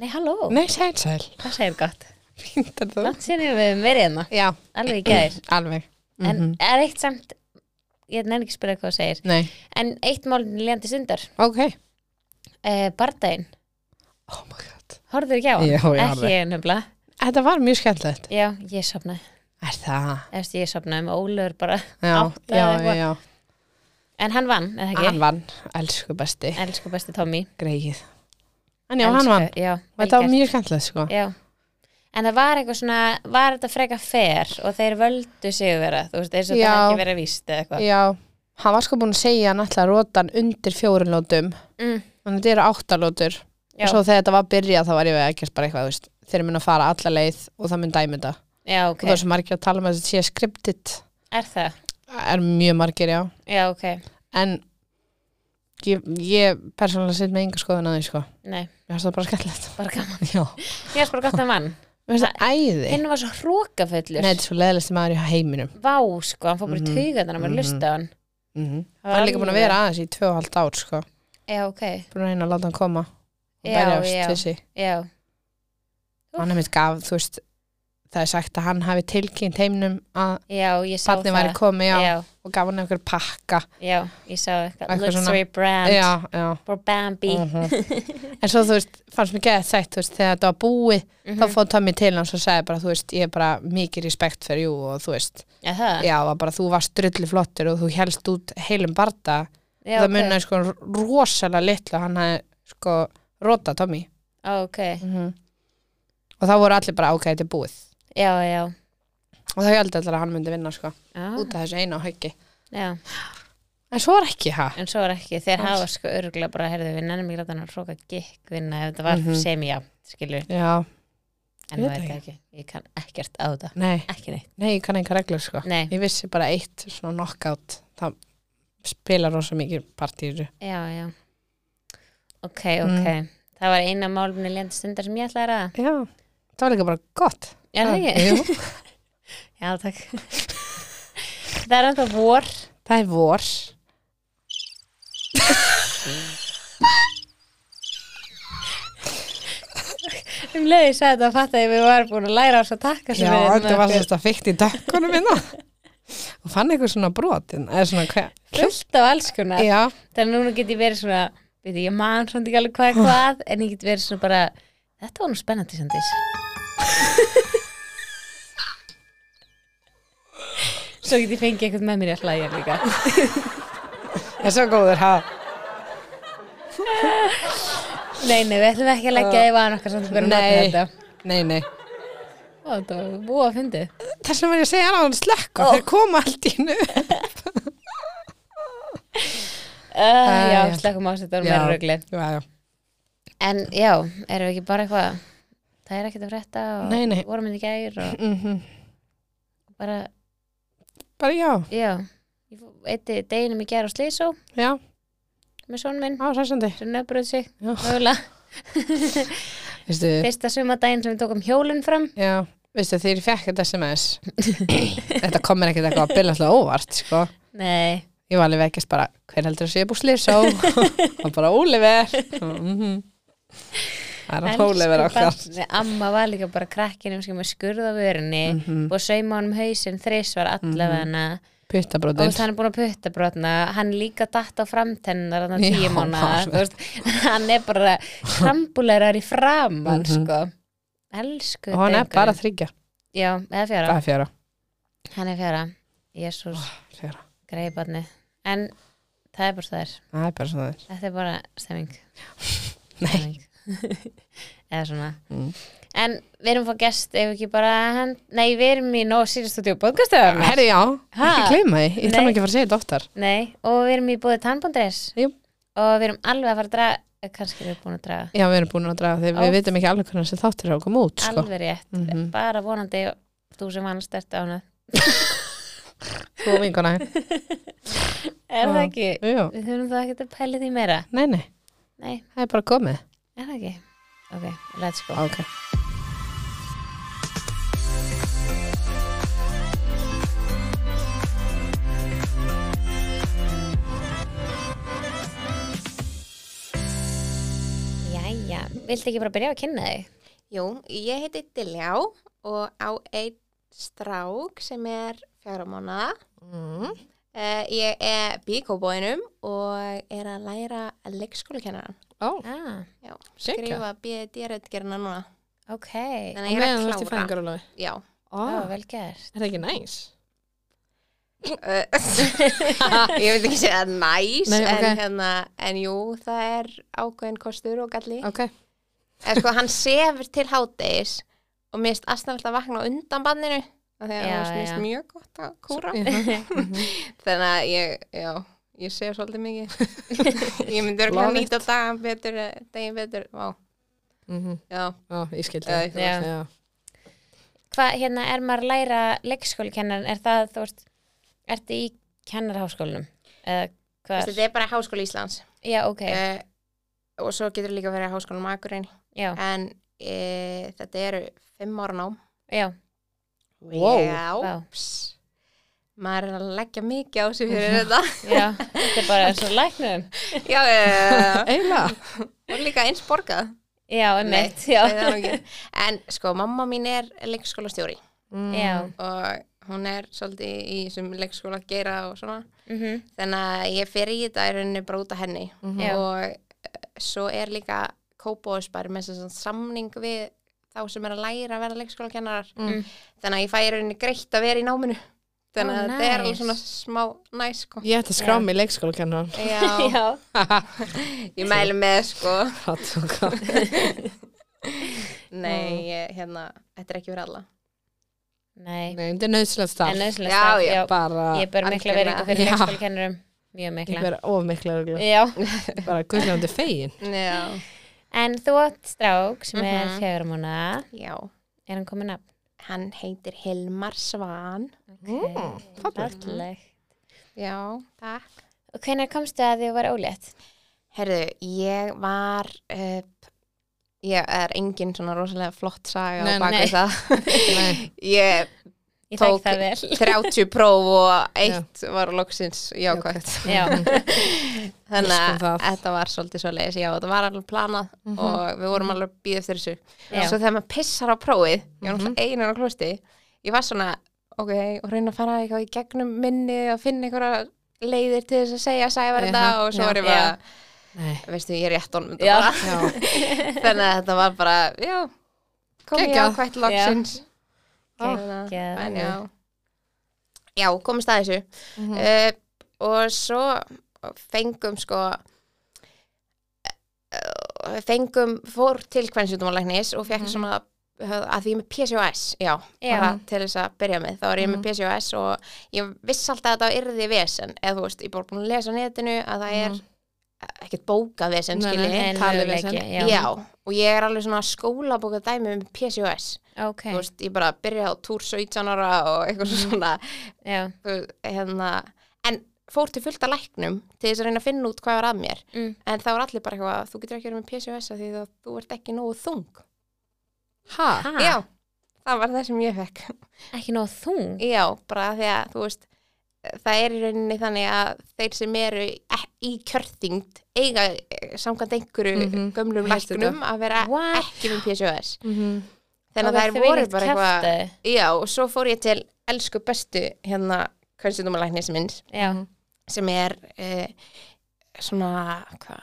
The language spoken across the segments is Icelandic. Nei, halló, Nei, sæl, sæl. það segir gott Fínt er það. Látt sér við höfum verið hérna, Já, alveg í gæðir alveg. En Mhm. er eitt samt, ég nefn ekki að spyrja hvað þú segir Nei. En eitt mál lélandi sundar, Ok. uh, bardaginn Oh my god. Horður ekki á hann? Já, já, Ekki ég nefnilega Þetta var mjög skemmtilegt. Já, ég sopnaði, Er það? eftir ég sopnaði með Ólur bara Já, Átta eða já, já, eitthvað. já. En hann vann, eða ekki? Hann vann. Elsku besti. Elsku besti Tommy Greikið. En já, Elsku- hann vann. Já, Og Þetta vel var gert. mjög skemmtilegt, sko. Já En það var eitthvað svona, var þetta freka fer og þeir völdu sig vera, þú veist, eins og Já. það hafi ekki verið víst eða eitthvað. Já, hann var sko búin að segja hann alltaf rótan undir fjórun lótum Mm, en þetta eru áttalótur já, og svo þegar þetta var byrjað þá var ég við ekkert bara eitthvað þú veist, þeir mun að fara alla leið og það mun dæmi þetta já, ok. og það er svo margir að tala með þetta sé skriptit Er það? er mjög margir, já Já, ok. en ég, ég persónulega sitt með enga skoðun að því sko Nei, mér finnst það bara skellilegt bara gaman. já, Ég er bara gott að mann. mér finnst það æði Hinn var svo hrókafullur. Nei, þetta er svo leðilegst maður í heiminum Vá, sko, hann fór bara í Mhm, taugarnar að maður mhm. lusta á hann. mm -hmm. Það var hann er líka búin að alveg- vera aðeins í tvö og halvt ár sko Já, ok. búin að reyna að láta hann koma og Já, berjast já. til sí Já, hann er mitt gaf, þú veist það er sagt að hann hafi tilkynnt heiminum að já, ég sá barni það. væri komið já, Já, og gaf hann einhver pakka já, ég sá eitthvað. Eitthvað Luxury brand. já, já. For Bambi. Uh en svo þú veist, fannst mér geðið sagt þú veist, þegar þetta var búið, Mhm. þá fóð Tommy til hans og sagði bara, þú veist, ég er bara mikið respekt fyrir jú og þú veist, Já, það. já, var bara þú varst drullu flottur og þú helst út heilum barda, Já, það ok. munnaði sko rosalega litlu, hann hafi sko róta Tommy Ok, og þá voru allir bara, ok, þetta er búið já, já. og þá held allir að hann myndi vinna sko, Ah, út af þessu eina og hauki Já, en svo var ekki, ha? en svo er ekki, þeir Alls. hafa sko örgulega bara, heyrðu, við nennum ekki láta hann að hróka gikk vinna ef þetta var mm Mhm. -hmm. sem já, skilur, Já, en Ég það veit veit það ekki, ég kann ekkert á þetta, nei, ekki neitt. nei, ég kann einhver reglur sko Nei, Ég vissi bara eitt svona knockout Það spilar rosa mikið partíru Já, já. Ok, ok. Það var eina málumni lenda stundar sem ég ætlaði að ræða. Já, það var líka bara gott Já, það ekki. Jú, Já, takk. það er ennþá vor. Það er vor Um leiði sagði þetta að fatta að við varum búin að læra á svo takka Já, þetta var sérst að fyrst í dökkunum minna Og fann eitthvað svona brotin Eða svona hver fullt af alls konar. Já, Þannig að núna get ég verið svona, veit ég, ég man svona ekki alveg hvað er hvað, en ég get verið svona bara, þetta var nú spennandi sandis. Svo get ég fengið eitthvað með mér í að hlæja líka. það er svo góður ha Nei, nei, við ætlum ekki að leggja í van okkar samt að vera að nota Nei. þetta. Nei, nei Ó, þetta var búið að fyndið. Þess vegna var ég að segja hann á hann slökk Ó. og þeir koma allt í nu Uh, já, já. slökkum á þetta var Já. meira rögli. Já, já En já, erum við ekki bara eitthvað, það er ekkert að frétta og Nei, nei. vorum við í gær og Mhm. bara, Bara já, já, ég eitti deginum í gær á Slysó já, með son minn, á sæsandi sem nöfbröð sig, Já. mögulega. Veistu, Fyrsta sumadaginn sem við tókum hjólinn fram. Já, veistu þegar ég fekk þetta SMS Þetta kom mér ekkert eitthvað að byrja alltaf óvart sko. Nei, Ég var alveg vekkist bara, hver heldur að sé búið slýrsá og bara Óliver mm -hmm. Það er hann Óliver okkar barnið, amma var líka bara krakkinum sem er skurð á vörinni Mhm. og sauma honum hausinn þrisvar allavega og þú Puttabrúðin veist, hann er búin að putta brotna hann er líka datt á framtennar hann Já, tíu mánuðar, alveg. þú veist, hann er bara krambulegar í framann Mhm. sko elsku og hann er drengurinn. bara þryggja já, eða Það fjara, er fjara, hann er fjara jésús, oh. fjara. greiðbarni en það er bara svo það er Það er bara svona þér þetta er bara stemming Nei, Stemming. eða svona Mm. en við erum að fá gest ef ekki bara hann, nei við erum í Nóa Sirius Studio podcastöðum herri já, Ha? ekki gleyma því Ég Nei. þarf nú ekki að fara að segja þetta oftar Nei, og við erum í búið tannbóndreis Jú. og við erum alveg að fara að draga eh, kannski erum við búin að draga Já, við erum búin að draga þegar Ó. við vitum ekki alveg hvernig þessi þáttir er að koma út sko. alveg rétt, Mhm. bara vonandi þú sem vannst eftir ána Þú og vinkona Er það Já. ekki? Jú, Við þurfum það ekki að pæli því meira Nei, nei, Nei, það er bara komið er það ekki? Ok, let's go Ok Jæja, viltu ekki bara byrja að kynna þig? Jú, ég heiti Diljá og á einn strák sem er fjara mánuða. Mm. Uh, ég er bíkóbóinum og er að læra leikskólakennaran. Ó, Ah, Já, Sjökja. skrifa BD-röðgerina núna. ok, Þannig á að ég er meðan þú ert að í klára. fæðingarólagi. Já. Ó, ah. vel gert. er það ekki næs? Eh, ég vil ekki segja næs, Nei, en, ok. hérna, en jú, það er ákveðin kostur og galli. Ok, En sko, hann sefur til hádegis og mér finnst aðstæðan að vakna á undan banninu. Þegar Já, hann finnst já. mjög gott að kúra. Svo- Þannig að ég, já, ég sef svolítið mikið. ég myndi vera Love að nýta dagan betur, eh, daginn betur. Vá, Mhm. já, Ó, ég skildi Já, það. ég- Já. Já. Hvað, hérna, er maður að læra leikskólakennaran, er það, þú veist, ertu í kennarháskólanum? Eða hvað? þetta er bara háskóli Íslands. Já, ok, Eh, og svo getur líka verið háskólanum Akureyni. já, En e, þetta eru fimm ára nám. já, Wow. Já, Vá. pss. maður er að leggja mikið á sig fyrir þetta. já, þetta er bara svo læknum. já, já, já, já. Eila. og líka eins borgað. Já, emitt, Nei, já, það er nú ekki. En sko, mamma mín er leikskólastjóri já, Mm. og hún er svolítið í þessum leikskóla að gera og svona. mhm, Þannig að ég fer í þetta í rauninni bara út af henni Mhm. Já. og eh, svo er líka kópóðsbær með þessan samning við þá sem er að læra að vera leikskólakennarar. Mm. Þannig að ég fæ í rauninni greitt að vera í náminu. Þannig Ó, að þetta er alveg nice. svona smá næs sko. Ég ætti að skrá mig í leikskóla kennan. Já, já. ég mæli með sko. Hattunga. Mm. Nei, ég, hérna, þetta er ekki fyrir alla. Nei, Nei, þetta er nöðslega starf. en nöðsynlega Já, starf, já. já, Bara, ég ber mikla algjörlega. veringu fyrir Já. leikskólakennarum, mjög ég mikla. ber of mikla regla. Já, Bara guðljóndi fegin. Já, en þú átt strák sem er Mhm. fjögur múna, já. er hann komin nafn? Hann heitir Hilmar Svan. Mm, fallegt. Falleg. Já, takk. Og hvenær komstu að því að vera ólétt? Herðu, ég var, uh, ég er engin svona rosalega flott saga Nei, á bak nei. við það. Nei. Ég Ég Tók- tek það vel. 30 próf og eitt var loksins jákvæmt. Já, Þannig Elskum að það. þetta var svolítið svo leiðis, já, þetta var alveg planað og við vorum alveg að býða eftir þessu. Mhm. Já. Mhm. Svo þegar maður pissar á prófið, ég var náttúrulega einan á klósti, ég var svona, ok, og reyna að fara eitthvað í gegnum minni og finna einhverja leiðir til þess að segja sæfa þetta Jaha, og svo já. var ég bara, Já. Nei. veistu, ég er rétt honum þetta Já. bara. Já. þannig að þetta var bara, já kom ég Geggjað. ákvæmt loksins Geggjað. þannig að- en já já, komist að þessu Mhm. uh, og svo fengum sko eh, fengum, fór til kvennsjútumalæknis og Mhm. fekk svona að því ég er með PCOS, já, Já. bara til þess að byrja með, þá er ég Mhm. með PCOS og ég viss alltaf að þetta yrði vesen eða þú veist, ég er bara búin að lesa á netinu að það er Mhm. ekkert bókað vesen, Nei, nei, skilji en talið við möguleiki, sem- já. já. og ég er alveg svona skólabóka dæmi um PCOS ok, þú veist, ég bara byrjaði á túr 17 ára og eitthvað Mhm. svona já, þú- hérna, en fór til fullta læknum til þess að reyna að finna út hvað var að mér Mm. en þá var allir bara eitthvað, þú getur ekki verið með PCOS af því að þú ert ekki nógu þung Ha? Ha, já, það var það sem ég fekk ekki nóg þung, já, bara af því að þú veist það er í rauninni þannig að þeir sem eru e- í kjörþyngd eiga eh, samkvæmt einhverju Mhm. gömlum Ég held læknum að vera What? ekki með PCOS Mhm. þannig að Og þær þvílíkt voru bara eitthvað kjaftæði. já og svo fór ég til elsku bestu hérna kvenstudumalæknis minns já, sem er uh, svona hvað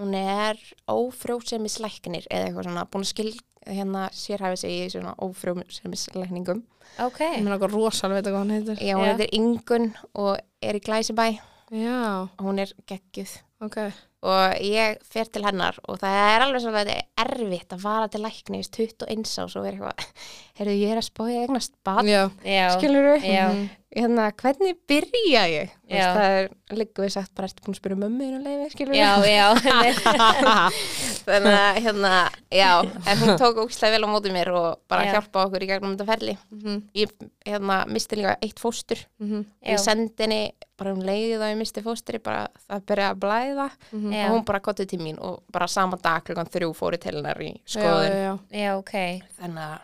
hún er ófrjósemislæknir eða eitthvað svona búin að skil hérna sérhæfi sig í svona ófrjósemislækningum ok, Ég meina eitthvað rosalega veit að hvað hann heitir. já hún Já. heitir Ingun og er í Glæsibæ Já, hún er geggjuð ok. og ég fer til hennar og það er alveg svona erfitt að fara til læknis 21 ás og vera eitthvað heyrðu ég er að spója eignast bad Já. já, skilur upp já, hérna, hvernig byrja ég? Þú Já. Veist, það er líka við sagt bara, ertu búin að spyrja mömmu þín um leiði, skilur já, já, Þannig að, hérna, já, en hún tók ógislega vel á móti mér og bara Já. hjálpa okkur í gegnum þetta ferli. Mhm. Ég, hérna, misti líka eitt fóstur. Mhm. já, Ég sendi henni bara um leiðið að ég misti fóstri, bara það byrjaði að blæða Já. og hún bara kottið til mín og bara sama dag klukkan þrjú fóri til hennar í Já, skoðun. já, já. já, ok, Þannig að,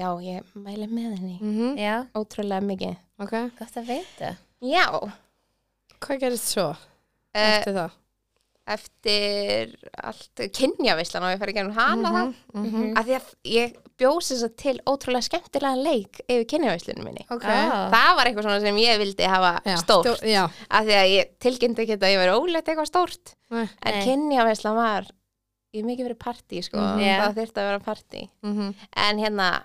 já, ég mæli með henni Mhm. já, ótrúlega mikið. Ok. gott að veita, Já, Hvað gerist svo eh, eftir það? eftir allt kynjavislan og ég fer ekki ennum hana Mhm, mm þá af því að ég bjósi þess að til ótrúlega skemmtilega leik yfir kynjavislunum minni Ok. Ah. það var eitthvað svona sem ég vildi hafa Já. stórt Stó- Já. af því að ég tilkynnti ekki að ég veri ólegt eitthvað stórt Nei. en Nei. kynjavislan var ég hef mikið verið partí sko Mhm. Já. það þyrfti að vera partí Mhm. en hérna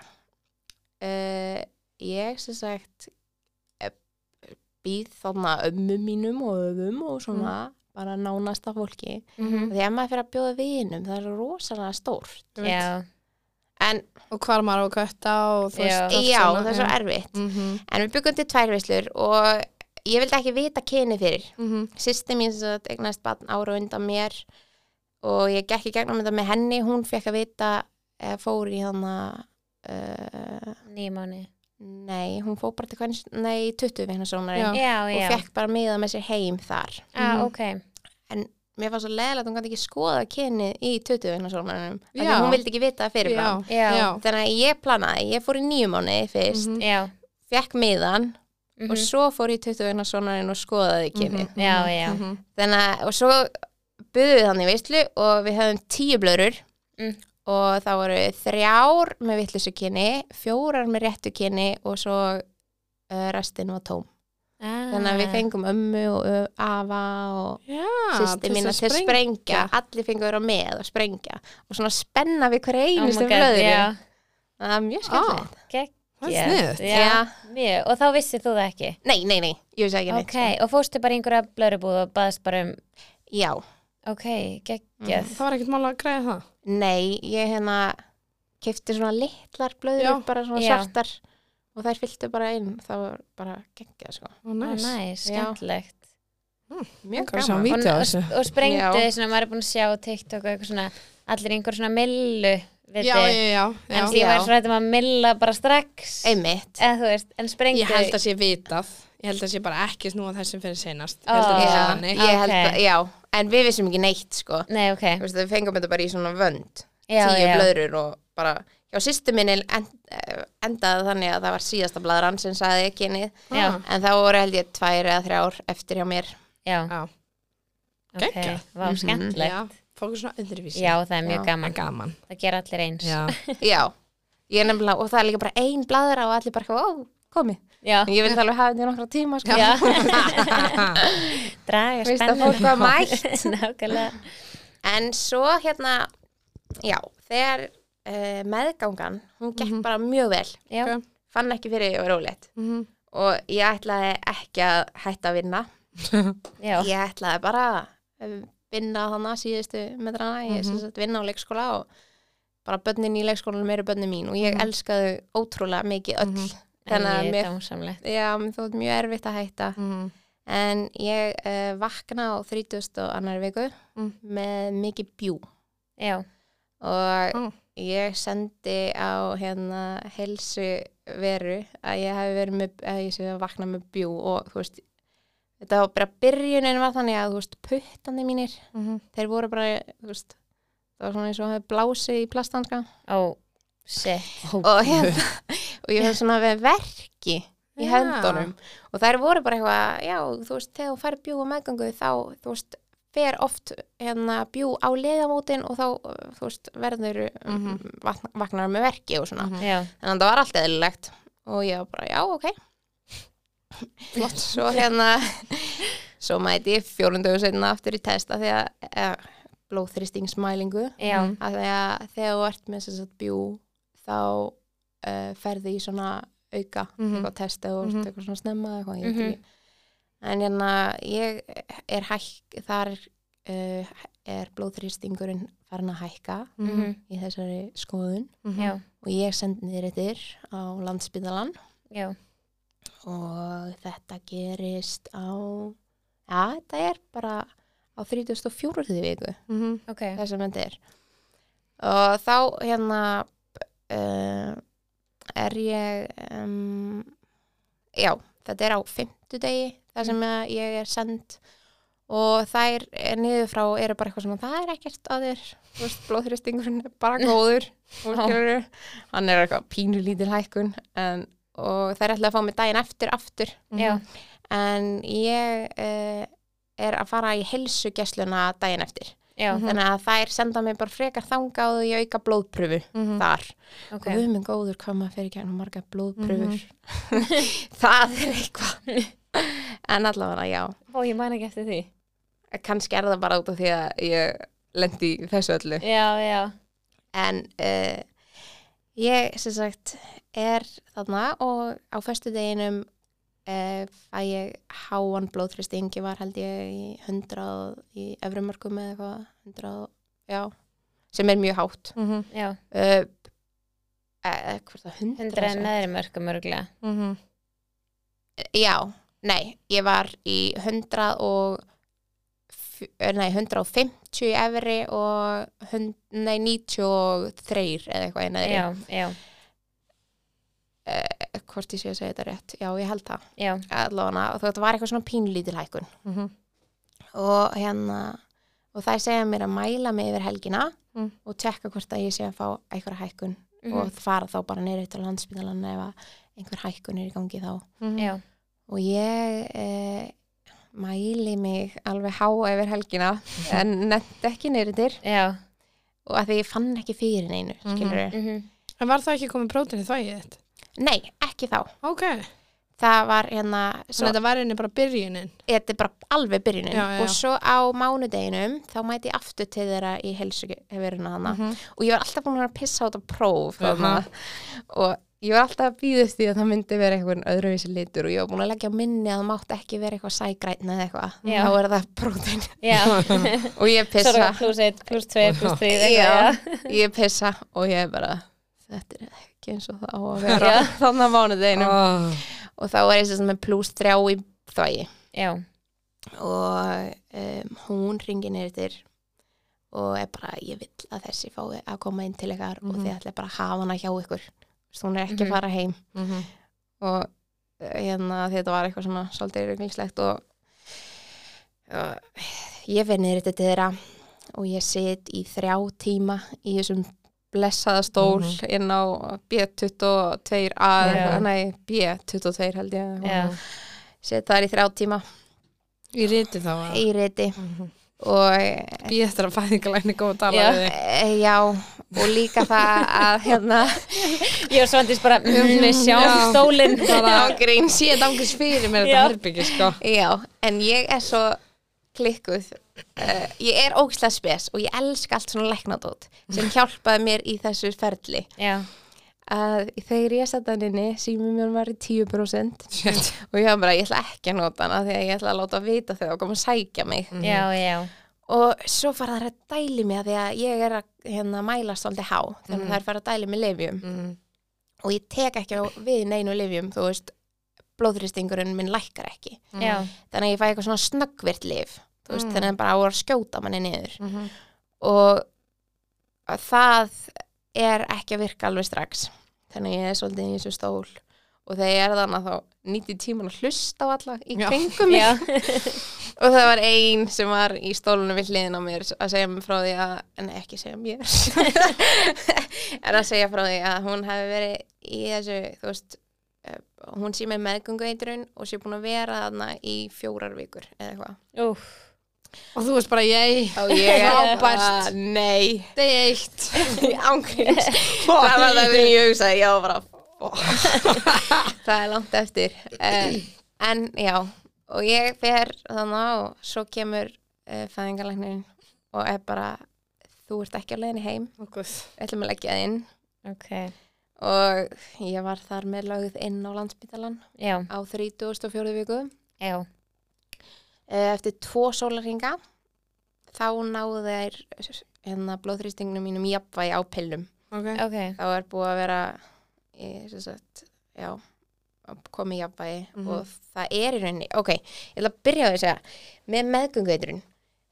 uh, ég sem sagt eh, býð þarna ömmu mínum og öfum og svona bara nánasta fólki Mm. Mhm. því að maður fyrir að bjóða vinum það er rosalega stórt Já, en Og hvar maður á að kötta og þú Já. veist allt já, svona, það er svo erfitt Mhm. en við byggum til tvær veislur og ég vildi ekki vita kyni fyrir Mhm. sýsti mín sem sagt eignast barn ára undan mér og ég gekk í gegnum þetta með henni hún fekk að vita eða fór í hana uh, nýjum mánu Nei, hún fór bara til hvernig, nei, 20 vegna Já. sónarinn Já, og já, fekk bara miða með sér heim þar. ah, Mhm. ok Mér var svo leiðilegt að hún gæti ekki skoða kynið í 20 vegna sónarinnum. Þannig Já. að hún vildi ekki vita það Já. fyrirfram. Já, já, Þannig að ég planaði, ég fór í nýju mánuði fyrst, Mhm. já fekk miðan mhm. og svo fór ég í 20 vegna sónarinn og skoðaði kynið. Mhm. Já, já. Mhm. Þannig að, og svo byggðum við þannig veistlu og við höfum tíu blörur Mm. og það voru þrjár með vittlusu kynni, fjórar með réttu kynni og svo uh, restin var tóm. Ah. þannig að við fengum ömmu og ö- afa og Já, sýsti Ah, þess mína til að sprengja. allir fengur að vera með og sprengja og svona spenna við Oh hver my einustu God, oh blöðri já. það er mjög Ah, skemmtilegt um það Já, er sniðt. já, mjög. Og þá vissið þú það ekki nei, nei, nei, ég vissi ekki neitt Ok, og fórstu bara í einhverja blörubúð og baðst bara um já, Ok, geggjað Mm, Það var ekkert mál að græða það. nei, ég hérna kefti svona litlar blöður Já. bara svona Já. svartar og þær fylltu bara inn það var bara geggjað sko Ó, Ó, næs. næs, Já. Ah, skemmtilegt mjög Langar að sjá gaman vídeo og, af þessu. og, og sprengdu Já. því svona, maður er búin að sjá á TikTok og eitthvað svona, allir í einhver svona millu við Já, þig. já, já. já. en því Já. var svo hættum að milla bara strax einmitt, eða þú veist, en sprengdu Ég held að sé vitað. Ég held að sé bara ekki snúa þessum fyrir senast. Ég held Ó. að það sé já, þannig. ég held Ok. að, já en við vissum ekki neitt sko Nei, ok, Þú veist, við fengum þetta bara í svona vönd já, tíu já blöðrur og bara já, sýstu minni end, eh, endaði þannig að það var síðasta blaðran sem sagði kynið Já, Ah. en þá voru held ég tvær eða þrjár eftir hjá mér já, Já. ok, Geggjað. vá, Ah, Mhm. skemmtilegt Já, fólk er svona öðruvísi. Já, það er mjög Já. gaman, En gaman. það gera allir eins Já. já, ég er nefnilega og það er líka bara ein blaðra og allir bara eitthvað, ó, komið já, ég vil alveg hafa þetta í nokkra tíma sko. já. Ha, draga Veist að spennan fólk var mætt. Nákvæmlega en svo hérna já, þegar uh, meðgangan, hún gekk Mhm. bara mjög vel Já, Ok. fann ekki fyrir og rólegt mhm. og ég ætlaði ekki að hætta að vinna já, ég ætlaði bara að vinna þannig síðustu metrana ég Mhm. sem sagt vinna á leikskóla og bara börnin í leikskólanum eru börnin mín og ég Mhm. elskaði ótrúlega mikið öll Mhm. þannig að mér, dásamlegt já, mér þótt mjög erfitt að hætta Mhm. en ég uh, vakna á 30. annar viku Mm. með mikið bjú Já, og Mm. ég sendi á hérna helsu veru að ég hafi verið með að ég sé að vakna með bjú og þú veist þetta var bara byrjunin var þannig að þú veist puttandi mínir Mhm. þeir voru bara, þú veist það var svona eins og hefði blásið í plastanska ó, shit og, hérna, og ég hefði svona við verki í Já. höndunum og þær voru bara eitthvað, já, þú veist þegar þú fær bjú á meðgangu þá, þú veist fer oft hérna bjú á leðamótin og þá, uh, þú veist, verður mm -hmm. vaknar með verki og svona Mhm. Já, en það var allt eðlilegt og ég var bara, já, ok flott, svo hérna svo mæti ég fjórundu setna aftur í testa því að eh, blóþristingsmælingu já, Mhm. að þegar, þegar þú ert með þess að bjú þá uh, ferði í svona auka Mhm. eitthvað testa og Mhm. eitthvað svona snemma eitthvað, ég Mhm. veit ekki en hérna ég er hæk þar uh, er blóþristingurinn farin að hækka mhm, í þessari skoðun Mhm. já, og ég sendi þér þetta á landsbyðalan já og þetta gerist á já, þetta er bara á 34. viku Mhm. Ok, þess að myndi er og þá hérna uh, er ég um, já, þetta er á fimmtudegi þar sem að ég er send og þær eh, niður frá eru bara eitthvað svona, það er ekkert að þér þú veist, blóðþristingurinn er bara góður þú Já. skilurðu. hann er eitthvað pínu lítil hækkun en, mhm, Mhm. og þær ætla að fá mig daginn eftir aftur já, en ég uh, er að fara í helsugesluna daginn eftir. já, Þannig að þær senda mig bara frekar þanga og ég auka blóðpröfu mhm, þar. ok Okay. Guð minn góður hvað maður fyrir kænum marga blóðpröfur. Mhm. það er eitthvað. en allavega, já. og ég man ekki eftir því Kannski er það bara út af því að ég lendi í þessu öllu. já, já, En uh, ég, sem sagt, er þarna og á föstu deginum uh, fæ ég háan blóðþristing, ég var held ég í 100 í efrumörkum eða eitthvað, 100, já, sem er mjög hátt. mhm, já Uh, eða hvort það, 100? hundra neðri mörgum örgulega mhm, Já, nei, ég var í 100 og fj- eh, nei, 150 í efri og hund, nei, 93 eða eitthvað í neðri. já, já, hvort ég sé að segja þetta rétt já, ég held það já, allavega, og þetta var eitthvað svona pínlítil hækkun mhm, og hérna og það segja mér að mæla mig yfir helgina Mm. Mhm. og tekka hvort að ég sé að fá einhverja hækkun Mhm. og fara þá bara neyri til landsbytalan ef að einhver hækkun er í gangi þá mhm. já og ég eh, mæli mig alveg há yfir helgina en nefnt ekki neyri til já, og að því ég fann ekki fyrir neinu Mhm. skilur mhm, En var það ekki komið prótín í þvægið þitt? nei, ekki þá Ok, það var hérna svo þetta var einnig bara byrjunin. þetta er bara alveg byrjunin Já, já, já. og svo á mánudeginum þá mæti ég aftur til þeirra í helsuveruna hana Mhm. og ég var alltaf búin að vera að pissa á þetta próf Aha. þarna. og ég var alltaf að býðast því að það myndi vera einhvern öðruvísi litur og ég var búin að leggja á minni að það mátt ekki vera eitthvað sægrætna eða eitthvað Já. þá er það prótin já og ég pissa, sorga pluss 1, pluss 2, pluss 3 Já. já, ég pissa og ég er bara þetta er ekki eins og það á að vera Já. þannig að mánudeginum Oh. og þá er ég sem sagt með pluss þrjá í þvægi já, og um, hún ringir niður til og er bara, ég vill að þessi fái að koma inn til ykkar og Mhm. þið ætla bara að hafa hana hjá ykkur Þú veist, hún er ekki Mhm. að fara heim og eh, hérna þetta var eitthvað svona svolítið rauglingslegt og, og ég fer niður til þeirra og ég sit í þrjá tíma í þessum blessaða stól inn á B22 Mhm. Já. A, nei B22 held ég já, sit þar í þrjá tíma Í riti þá að. í riti Mhm. og Býð eftir að fæðingalæni góð að tala Já. við þig. E, Já, og líka það að hérna ég og Svandís bara mm, við sjáum Já. stólinn Bara ágríns sé þetta ángurs fyrir mér Já. þetta herbyggi, sko. Já, en ég er svo klikkuð uh, Ég er ógislega spes og ég elska allt svona læknadót sem hjálpaði mér í þessu ferli já, að þegar ég satt hann inni símum mér var í 10% Shit. og ég var bara, ég ætla ekki að nota hana því að ég ætla að láta vita þau og koma að sækja mig já, já og svo fara þær að dæli mig að því að ég er að hérna, mæla svolítið há þannig að þær fara að dæli mig lefjum Mm. og ég tek ekki á við neinu lifjum þú veist, blóðrýstingurinn minn lækkar ekki Mhm. já, þannig að ég fæ eitthvað svona snöggvirt lif þú veist, Mm. þannig að bara á að skjóta manni niður Mhm. og það er ekki að virka alveg strax þannig að ég er svolítið í þessu stól og þegar ég er þannig að þá nýtti tíman að hlusta á alla í Já. kringum mig já og það var ein sem var í stólunum við hliðin á mér að segja mér frá því að en ekki segja mér en að segja frá því að hún hefði verið í þessu þú veist eh, hún sé með meðgöngu eitrun og sé búin að vera þarna í fjórar vikur eða eitthvað úf, Og þú veist bara, ég, og ég er Frábært. bara nei það er eitt. ángríns það var það sem ég hugsaði já bara fuck. það er langt eftir uh, en já og ég fer þannig og svo kemur uh, fæðingarlæknirinn og er bara þú ert ekki á leiðinni heim, Ó, Oh, guð. við ætlum að leggja það inn ok, og ég var þar með lögð inn á landsbytalan já, á 34. viku já Eh, eftir tvo sólarhinga þá náðu þær hérna blóðþrýstingnum mínum jafnvægi á pillum Ok. ok, þá er búið að vera í, sem sagt, já, komið jafnvægi Mhm. og það er í rauninni, ok, ég ætla að byrja á því að segja, með meðgöngueitrun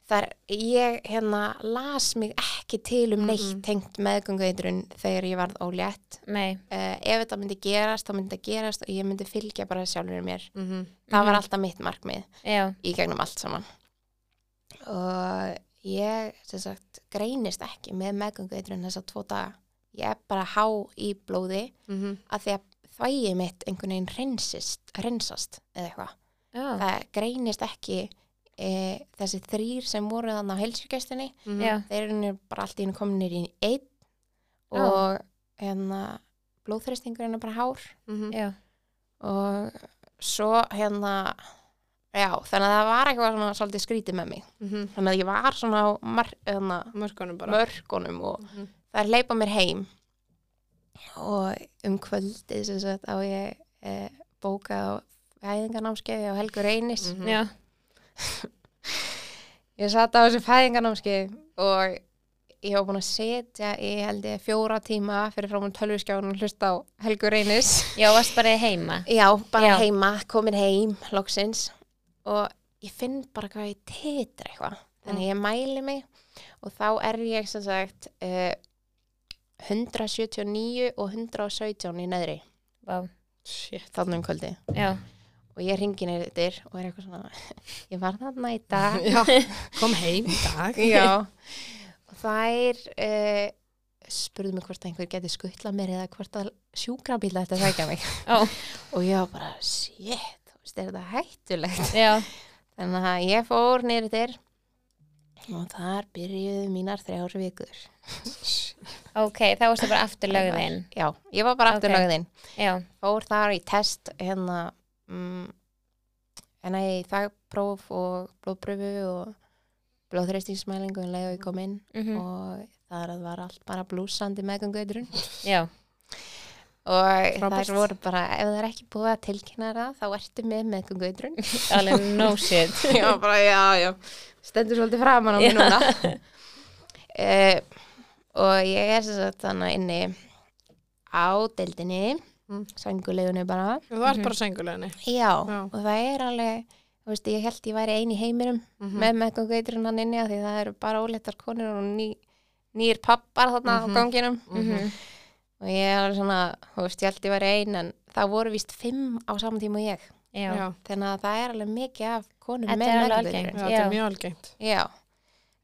þar ég hérna las mig ekki til um neitt Mhm. tengt meðgöngueitrun þegar ég varð ólétt nei uh, ef þetta myndi gerast, þá myndi þetta gerast og ég myndi fylgja bara sjálfur mér Mhm. það var Mhm. alltaf mitt markmið já, í gegnum allt saman og ég sem sagt greinist ekki með meðgöngueitrun þessa tvo daga ég er bara há í blóði Mhm. að því að þvægi mitt einhvern veginn reynsist, reynsast eða eitthvað já, það greinist ekki e, þessi þrýr sem voru þannig á heilsugestinni Mhm. já, þeir eru nú bara allt í hennu kominir í einn Já. og hérna blóðþrýstingurinn er bara hár Mhm. já, og svo hérna já, þannig að það var eitthvað svona svolítið skrítið með mig þannig að ég var svona á mar, hérna, Mhm. Mörkunum bara mörgunum og Mhm. það er leipa mér heim og um kvöldið sem sagt á ég e, bókað á fæðingarnámskeiði á Helgur Einis Mhm. já, ég satt á þessu fæðingarnámskeið og ég var búin að setja í held ég fjóra tíma fyrir frá mér tölvuskjáðun og hlusta á Helgur Einis já, varst bara heima Já, bara Já. heima, komin heim, loksins og ég finn bara hvað ég titra eitthvað. Þannig ég mæli mig og þá er ég sem sagt uh, 179 og 117 í neðri, Vá. Shit þannig um kvöldi. já, Og ég ringi neyrir yfir og er eitthvað svona, ég var þarna í dag. Já, kom heim í dag Já. Og þær uh, spurðu mig hvort einhver geti skuttlað mér eða hvort að sjúkrabíla þetta sækja mig. Ó. Og ég var bara, shit, þú veist, er þetta hættulegt? já, Þannig að ég fór niður þér og þar byrjuðu mínar þrjár vikur. ok, þá varstu bara aftur lögðin Já, ég var bara aftur Ok. okay. lögðin. já, Fór þar í test hérna, mm, hérna í þagpróf og blóðpröfu og blóðþreistingsmælingu um leið og ég kom inn mhm, og þar að var allt bara blúsandi meðgangauðrun já og Frábært. þar voru bara, ef það er ekki búið að tilkynna það, þá ertu með meðgangauðrun. alveg no shit já, bara, já, já stendur svolítið framan á Já. mér núna uh, og ég er sem sagt þannig inni á deildinni Mm. sangulegunni bara Þú varst bara senguleginni já, Já. og það er alveg þú veist, ég held ég væri ein í heiminum Mhm. Mhm. með meðgangveiturinn hann inni af því það eru bara óleittar konur og ný, nýr pappar þarna Mhm. á ganginum Mhm, og ég er alveg svona, þú veist, ég held ég væri ein en það voru víst fimm á saman tíma og ég já, já, þannig að það er alveg mikið af konum Þetta með er alveg meðgangveiturinn algengt. Já, þetta Já. er mjög algengt Já,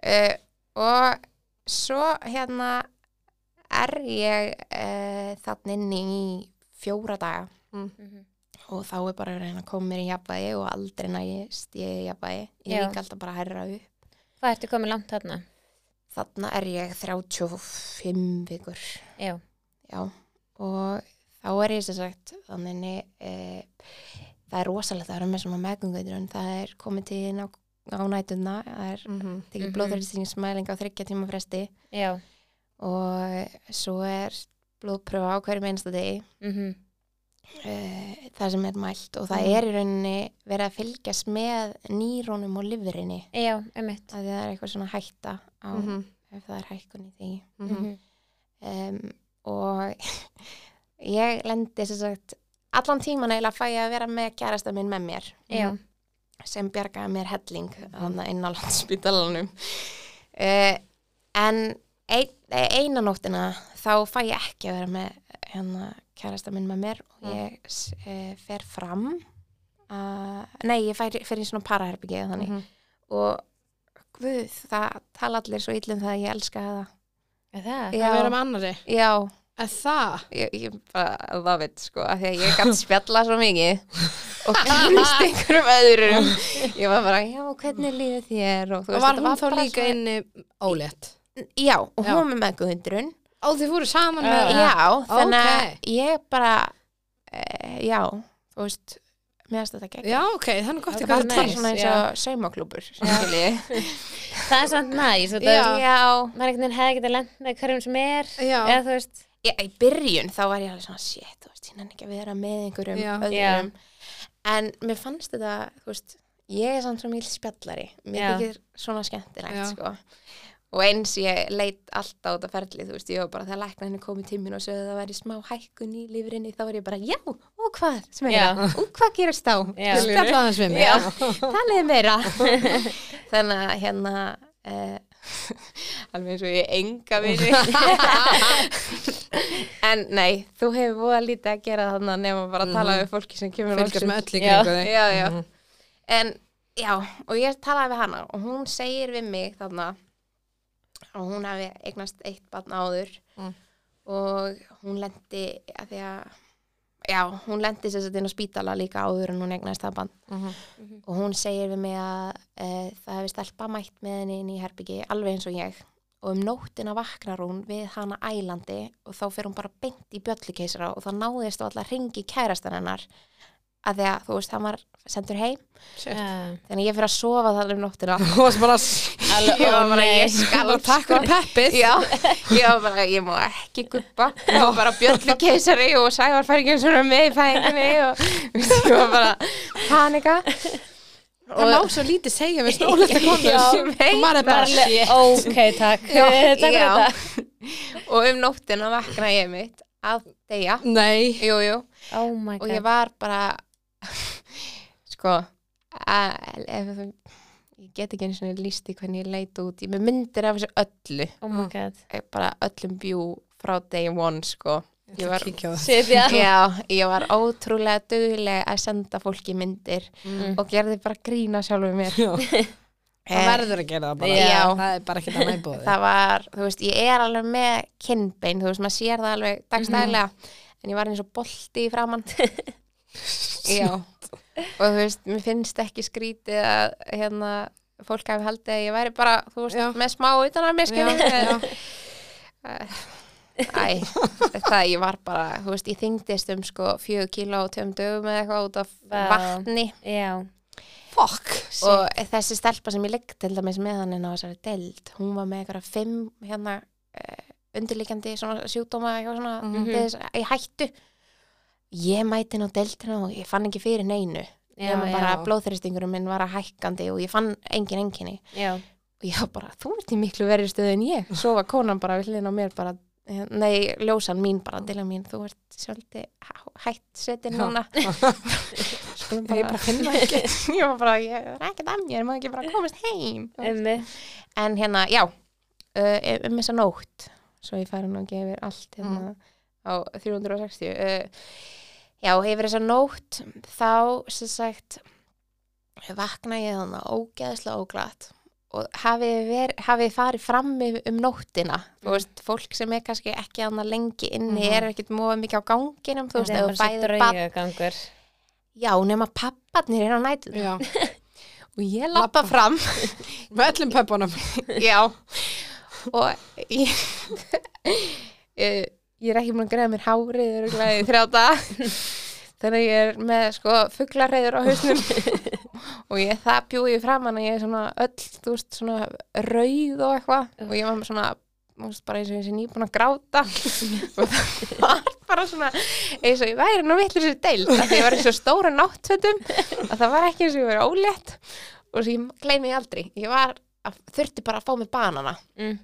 uh, og svo hérna er ég uh, þannig inn í fjóra daga mhm, og þá er bara að reyna að koma mér í jafnvægi og aldrei nægist ég í jafnvægi. Ég Já. rík alltaf bara að herra upp. hvað ertu komið langt þarna Þannig er ég 35 vikur. já, Já, og þá er ég sem sagt þannig inni, uh, það er rosalegt að vera með svona meðgungveitur en það er komið til inn á, á nætuna, það er tekið Mhm. mm á þryggja tíma fresti já, og svo er blóðpröfa á hverjum einasta degi mhm, uh, það sem er mælt og það Mhm. er í rauninni verið að fylgjast með nýrónum og lifurinni já, einmitt að það er eitthvað svona hætta á, Mhm, ef það er hækkun í því mhm. Mhm, um, og ég lendi sem sagt allan tíman eiginlega fæ ég að vera með kærasta minn með mér já, sem bjargaði mér helling þannig inn á landspítalanum uh, en ein, eh, eina nóttina þá fæ ég ekki að vera með hérna kærasta minn með mér og ég uh, fer fram uh, nei, ég fær, fer í svona paraherbyggið þannig Mhm. og guð, það tala allir svo illum það að ég elska það Er það Að vera með annari já, Er það? ég, ég bara love it sko, af því að ég gætt spjalla svo mikið og kynst einhverjum öðrum ég var bara, já, hvernig líður þér og þú Var þetta hún þá bara líka svona- inni ólétt? já, og hún Já. var með meðgöðundrun Ó, þið fóru saman Já. með já, þannig að Ókei. ég bara e, já, þú veist mér finnst þetta gegn Já, ok, þannig gott Já, ég það bara nice, gæti er bara tannst svona eins og saumaklúbur skiljiði. það er samt næs þetta Já. er- já, maður einhvern veginn hefði getað lent með hverjum sem er Já. eða þú veist ég, í byrjun þá var ég alveg svona shit, þú veist, ég nenni ekki að vera með einhverjum Já. öðrum en mér fannst þetta, þú veist ég er samt svo mjög spjallari mér Já. þykir svona skemmtilegt, Já. sko og eins ég leit alltaf á þetta ferli þú veist, ég var bara þegar læknarinn komið tímin og sögðu að það væri smá hækkun í lifurinni þá var ég bara, já, og hvað sem er Já. það, og hvað gerist þá Já. Skilurðu? Spjalla aðeins við mig Já, talaðu meira Þannig að hérna uh, alveg eins og ég enga vini En nei, þú hefur búið að lítið að gera þannig nema bara að tala við fólki sem kemur Mhm. Fylgjast loksins. með öll í Já. kringu þig Mhm. Já, já En já, og ég talaði við hana og hún segir við mig þannig að hún hafi eignast eitt barn áður Mm. og hún lendi að því að já, hún lendi sér satt inn á spítala líka áður en hún egnaðist það band Mhm. og hún segir við mig að e, það hefur stelpa mætt með henni inn í herbyggi alveg eins og ég og um nóttina vaknar hún við hana ælandi og þá fer hún bara beint í bjöllukeisara og það náðist á allar ringi kærastan hennar að því að þú veist, hann var sendur heim Já. þannig að ég fyrir að sofa það um nóttina Þú varst bara Alveg, Ég var ó, bara, nei. ég skal Bara sko. takk fyrir peppið. Já, ég var bara, ég má ekki guppa Ég var bara bjöllukeisari og Sævar Fergjensson er með í fæðingunni og ég var bara panika Það má svo lítið segja við snólesta konur Já, og maður er bara Bara, shit. ok, takk Takk fyrir Eh, já. þetta og um nóttina vakna ég mitt að deyja Nei, jú, jú. Oh my og ég god var bara sko að, ef, þú- ég get ekki einu svona lísti hvernig ég leit út, ég er með myndir af þessu öllu Oh my god Ég bara öllum bjú frá day one sko ég var, kíkja á það. Shit, já já, ég var ótrúlega dugleg að senda fólki myndir Mm. og gerði bara grína sjálfur mér Já. Það Eh, verður að gera það bara. Já. Það er bara ekki það næbúið. það var, þú veist, ég er alveg með kinnbein, þú veist, maður sér það alveg dagstæðlega, Mhm. en ég var eins og bolti í framann já, og þú veist, mér finnst ekki skrítið að hérna, fólk hafi haldið að ég væri bara þú veist, Já. með smá utan að mér sko. skilur Já, æ, það ég var bara þú veist, ég þyngdist um sko fjögur kíló og tveim dögum eða eitthvað út af Vá. vatni Já Fuck. og þessi stelpa sem ég ligg til dæmis með hann inn á þessari deild hún var með eitthvað fimm hérna uh, undirlikjandi svona sjúkdóma eitthvað svona Mhm. til þess, í hættu ég mæti inn á deildina og ég fann ekki fyrir neinu Já, ég var bara já. blóðþyristingurum minn var að hækkandi og ég fann engin enginni já, og ég var bara, þú ert í miklu verið stöðu en ég svo var konan bara við hliðin á mér bara eh, nei, ljósan mín bara, dila mín þú ert svolítið há- hætt setin Já. núna Skulum bara, ég bara finna það ekki. ég var bara, ég er ekkert að mér, maður ekki bara komast heim emmi en hérna, já uh, um þessa nótt svo ég fari nú ekki yfir allt hérna, á 360 uh, já, yfir þessa nótt þá, sem sagt vakna ég þannig ógeðslega óglatt og hafið veri, hafi farið fram yfir- um nóttina þú veist, fólk sem er kannski ekki annað lengi inni Mhm. er ekkert móða mikið á ganginum þú veist, Það var ef þú svo bæðir bann draugagangur já, nema papparnir er á nættu Já. og ég lappa fram Með öllum peppunum. Já og ég, ég, ég er ekki múin að greiða mér hárið örugglega í þrjá dag þannig að ég er með sko fuglarreiður á hausnum og ég það bjúi fram hann að ég er svona öll, þú veist, svona rauð og eitthvað og ég var með svona þú veist, bara eins og ég sé nýbúin að gráta og það var bara svona eins og ég væri nú vitlega sér deil því ég var eins og stóra náttfötum að það var ekki eins og ég verið ólétt og svo ég gleymi því aldrei ég var, að, þurfti bara að fá mig banana mm.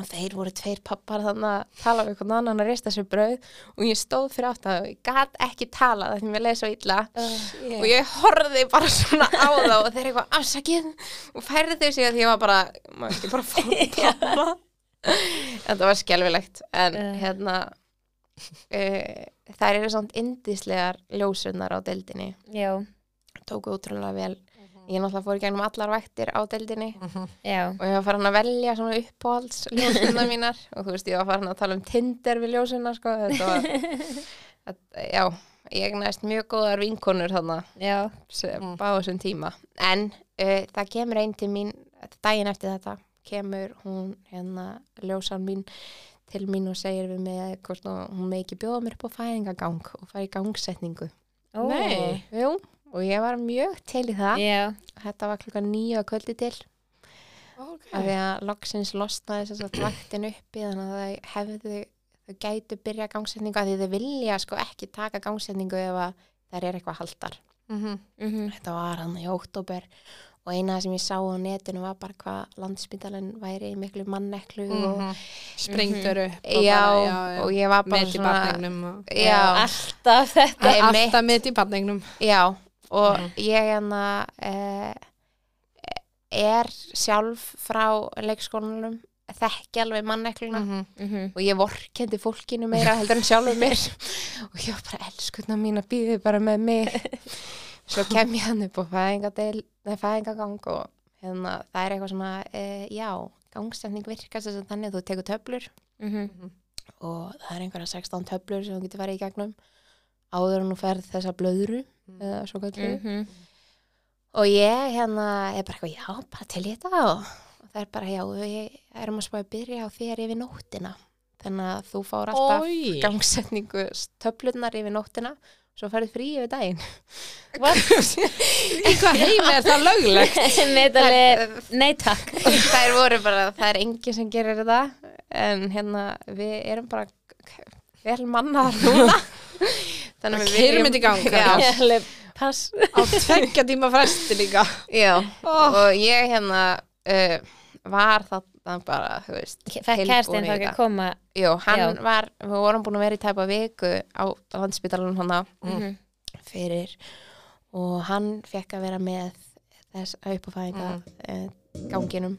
og þeir voru tveir pappar þannig að tala við einhvern annan að rista sér brauð og ég stóð fyrir átt að ég gat ekki talað af því mér leið svo illa og ég horfði bara svona á þá og þeir eitthvað afsakið og færði þau sig að því ég var bara maður ekki bara fór bara þetta var skelfilegt en Eh. hérna uh, þær eru svona indislegar ljósunnar á deildinni Já, tóku útrúlega vel ég náttúrulega fór í gegnum allar vættir á deildinni já og ég var farin að velja svona uppáhalds ljósunna mínar og þú veist ég var farin að tala um Tinder við ljósunna sko þetta var að, já, ég næst mjög góðar vinkonur þarna Já, sem bá þessum tíma en uh, það kemur einn til mín daginn eftir þetta kemur hún hérna ljósan mín til mín og segir við mig að hvort nú- hún með ekki bjóða mér upp á fæðingagang og fara í gangsetningu ó Nei. Jú, og ég var mjög til í það Já, þetta var klukkan nýju að kvöldi til af því að loksins losnaði þess að vaktin uppi þannig að þau hefðu þau gætu byrja gangsetningu af því þau vilja sko ekki taka gangsetningu ef að þær er eitthvað haldar mhm þetta var hann í óttóber og eina sem ég sá á netinu var bara hvað landspítalinn væri í miklu manneklu Mhm. og, Springtur upp. já, Mhm. og ég var bara Með í svona barningnum. og- já, Alltaf þetta Nei, mitt. Alltaf með í barningnum. Já, og ég hérna eh, er sjálf frá leikskólanum þekki alveg mannekluna Mhm. og ég vorkendi fólkinu meira heldur en sjálfur mér og ég var bara elskuna mín að býði bara með mig svo kem ég hann upp á fæðingadel, nei, fæðingagang og hérna, það er eitthvað svona eh, já, gangstæfning virkar sem sagt þannig að þú tekur töflur Mm-hmm. Mhm. og það er einhverja 16 töflur sem þú getur farið í gegnum áður en þú ferð þessa blöðru eða svo kallu Mhm. og ég hérna er bara eitthvað, já, bara til í þetta og, og það er bara, já, við erum að spá að byrja á þér yfir nóttina þannig að þú fáur alltaf Oj. gangsetningu töflunar yfir nóttina svo færið frí yfir daginn Í hvað heimi er það löglegt? Nei, það er Nei, takk þær voru bara, það er enginn sem gerir þetta en hérna við erum bara k- vel mannaðar núna þannig að við Keyrum viljum- þetta í gang, krakkar. já, Ég alveg, Pass Á tveggja tíma fresti líka. já. Oh. og ég hérna uh, var þarna bara þú veist, Fekk kærstin þá ekki að koma Jó, hann Já. var, við vorum búin að vera í tæpa viku á landspítalunum hana Mhm. fyrir og hann fekk að vera með þess uppafæðinga mm. ganginum